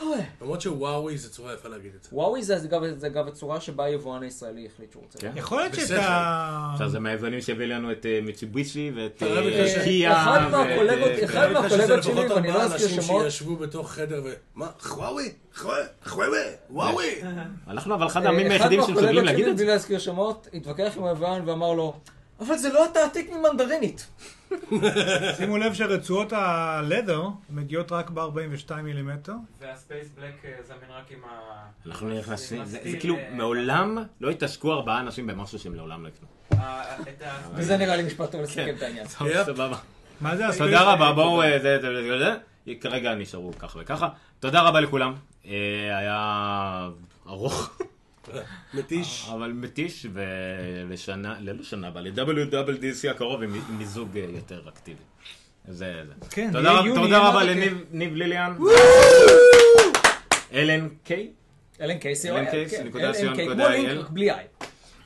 וואוי.
למרות שוואוי זה צורה יפה להגיד את זה.
וואוי זה אגב- זה אגב הצורה שבה היבואן הישראלי החליט שהוא רוצה.
כן.
יכול להיות שאת
בסדר.
ה...
עכשיו זה מהיוונים שהביא לנו את אה, מיצובישי ואת
אתה יודע,
אה,
בגלל ש-
קיה.
אחד
ואת,
מהקולגות-
אה,
אחד
כן.
מה-
אני חושב שזה
מהקולגות שלי,
לפחות
ואני לא
ארבעה
אזכיר
אנשים
שמות.
שישבו בתוך חדר ו... מה, חוואוי? חוואוי? חוואוי? וואוי?
אנחנו אבל אחד
אה,
העמים היחידים
אחד
שמסוגלים
מהקולגות
להגיד
שלי,
את
בלי
זה.
להזכיר שמות, התווכח עם היבואן ואמר לו, אבל זה לא התעתיק ממנדרינית.
שימו לב שרצועות הלדר מגיעות רק ב-42 מילימטר.
והספייס בלק אה, זמין רק עם ה...
אנחנו נכנסים, זה
מסטיל,
זה כאילו
אה,
מעולם לא התעסקו ארבעה אנשים במשהו שהם לעולם לא יקנו.
ה- את ה...
וזה נראה לי משפט טוב לסכם את העניין.
טוב,
יפ.
סבבה.
מה זה הספייס?
תודה רבה, בואו, אה, זה, זה, זה, זה, זה. כרגע נשארו כך וככה. תודה רבה לכולם. אה, היה ארוך,
מתיש.
אבל מתיש, ולשנה, ללא שנה הבאה, ל-WWDC הקרוב עם עם מיזוג אה, יותר אקטיבי. זה, זה.
כן,
תודה
יהיה
רב-
יוני,
תודה
יהיה
רבה
מה זה
לניב ניב ליליאן. אלן קיי?
אלן קייסי,
אלן
אה,
קייס,
כן,
נקודה
אלן
ציון,
קיי,
נקודה
כמו
IL.
לינק, רק בלי איי.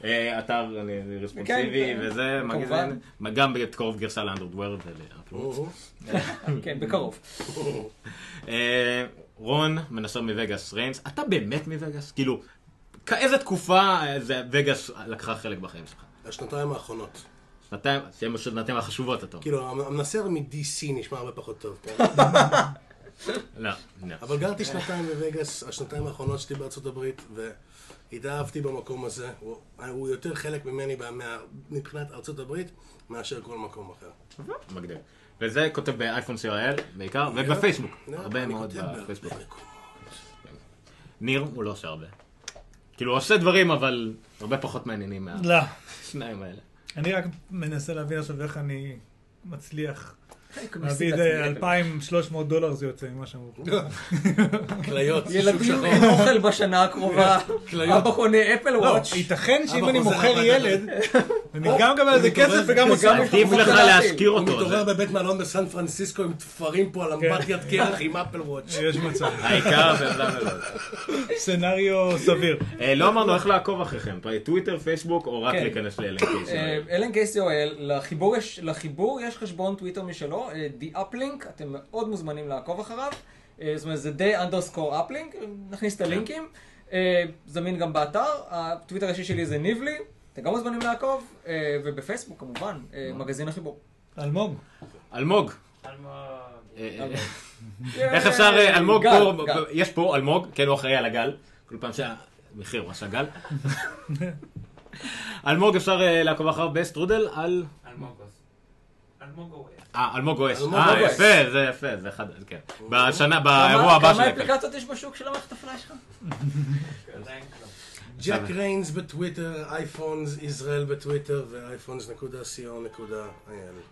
אה, אתר אני רספונסיבי
אה,
כן,
וזה,
כן,
מגזין.
כמובן.
גם בקרוב גרסה לאנדרדוורד ולאפלוט.
אוהו.
כן, בקרוב.
אה, רון, מנסר מווגאס ריינס, אתה באמת מווגאס? כאילו, כ- איזה תקופה אה, זה וגאס לקחה חלק בחיים שלך?
השנתיים האחרונות.
שנתיים, שהם השנתיים החשובות, אתה אומר.
כאילו, המנסר מ-DC נשמע הרבה פחות טוב, כן?
לא, לא.
אבל גרתי שנתיים בווגאס, השנתיים האחרונות שלי בארצות הברית, והתאהבתי במקום הזה. הוא- הוא יותר חלק ממני ב- מה- מבחינת ארצות הברית, מאשר כל מקום אחר.
מגדיר. וזה כותב באייפון CRL בעיקר, ובפייסבוק. הרבה
אני
מאוד
כותב בהרבה
בפייסבוק.
מקומות.
ניר, הוא לא עושה הרבה. כאילו, הוא עושה דברים, אבל הרבה פחות מעניינים
לא.
מהשניים האלה.
אני רק מנסה להבין עכשיו איך אני מצליח להביא
מסיט
את
את
זה
עצמי.
2,300 דולר זה יוצא ממה שהם אמרו.
כליות, שוק
ילדים
שחור.
אין אוכל בשנה הקרובה,
כליות.
אבא קונה אפל
לא,
וואץ'.
ייתכן שאם
אבא
אני
חוזר
מוכר
הביתה.
ילד, אני גם מקבל על זה כסף וגם עושה...
עדיף לך להשכיר
הוא
אותו.
מתעורר
זה-
בבית מלון בסן פרנסיסקו עם תפרים פה על אמבטיית קרח עם אפל וואץ'.
יש מצב.
העיקר זה בלה בלה בלה.
סצנריו סביר.
אה, לא אמרנו איך לעקוב אחריכם, טוויטר, פייסבוק, או רק
כן.
להיכנס ל-LNK.
אה, אלן קייסי.או.אל, לחיבור יש- לחיבור יש חשבון טוויטר משלו, אה, The Uplink, אתם מאוד מוזמנים לעקוב אחריו. אה, זאת אומרת, זה די underscore uplink, נכניס
כן.
את הלינקים. אה, זמין גם באתר, הטוויטר האישי שלי זה ניבלי, אתם גם מוזמנים לעקוב, אה, ובפייסבוק כמובן, אה, מגזין החיבור.
אלמוג.
אלמוג.
אלמוג.
אה, אה, איך אפשר, אה, אלמוג
גל,
פה,
גל.
יש פה אלמוג, כן הוא אחראי על הגל, כל פעם שהמחיר הוא עשה גל. אלמוג אפשר אה, לעקוב אחריו בסטרודל על...
אלמוגוס. אלמוגו.
אה, אלמוג אוס.
אלמוג
אה,
אוס.
יפה, זה יפה, זה אחד, כן. בשנה,
כמה-
באירוע הבא
כמה
שלי.
אפליקציות יש בשוק של המערכת הפלאש שלך?
עדיין כלום.
ג'ק ריינס בטוויטר, אייפונס ישראל בטוויטר ואייפונס.co.il.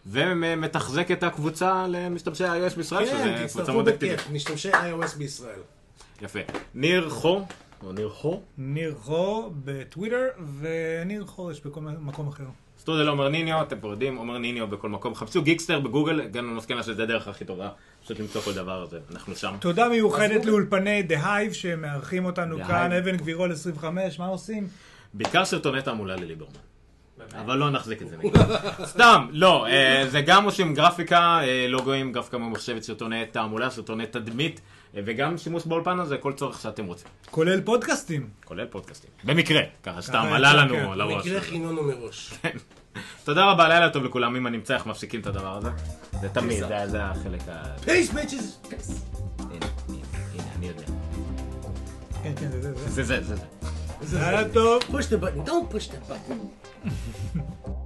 ומתחזק את הקבוצה למשתמשי iOS בישראל,
כן,
שזה קבוצה
תצטרפו
מאוד אקטיבית.
בכיף, משתמשי iOS בישראל.
יפה. ניר חור, או ניר חור,
ניר חור בטוויטר, וניר חור יש בכל מקום אחר.
סטודל עומר ניניו, אתם פה יודעים, עומר ניניו בכל מקום. חפשו גיקסטר בגוגל, הגענו למסקנה שזה הדרך הכי טובה, פשוט למצוא כל דבר הזה, אנחנו שם.
תודה מיוחדת לאולפני The Hive שמארחים אותנו
The
כאן,
Hive.
אבן גבירול 25, מה עושים?
בעיקר סרטוני תעמולה לליברמן. אבל לא נחזיק את זה נגדו. סתם, לא, אה, זה גם עושים גרפיקה, אה, לוגוים, גרפיקה ממוחשבת, סרטוני תעמולה, סרטוני תדמית, אה, וגם שימוש באולפן הזה, כל צורך שאתם רוצים,
כולל פודקאסטים.
כולל פודקאסטים. במקרה, ככה סתם
ככה
עלה
יצא,
לנו
כן.
לראש.
מקרה חינונו מראש.
תודה רבה, לילה טוב לכולם, אם אני מצליח מפסיקים את הדבר הזה. זה תמיד, זה- זה החלק ה...
פייס ביצ'ס!
הנה, הנה, הנה, אני יודע.
כן, כן, זה זה. זה.
זה זה, זה זה.
יאללה טוב.
Push the button, don't push the button.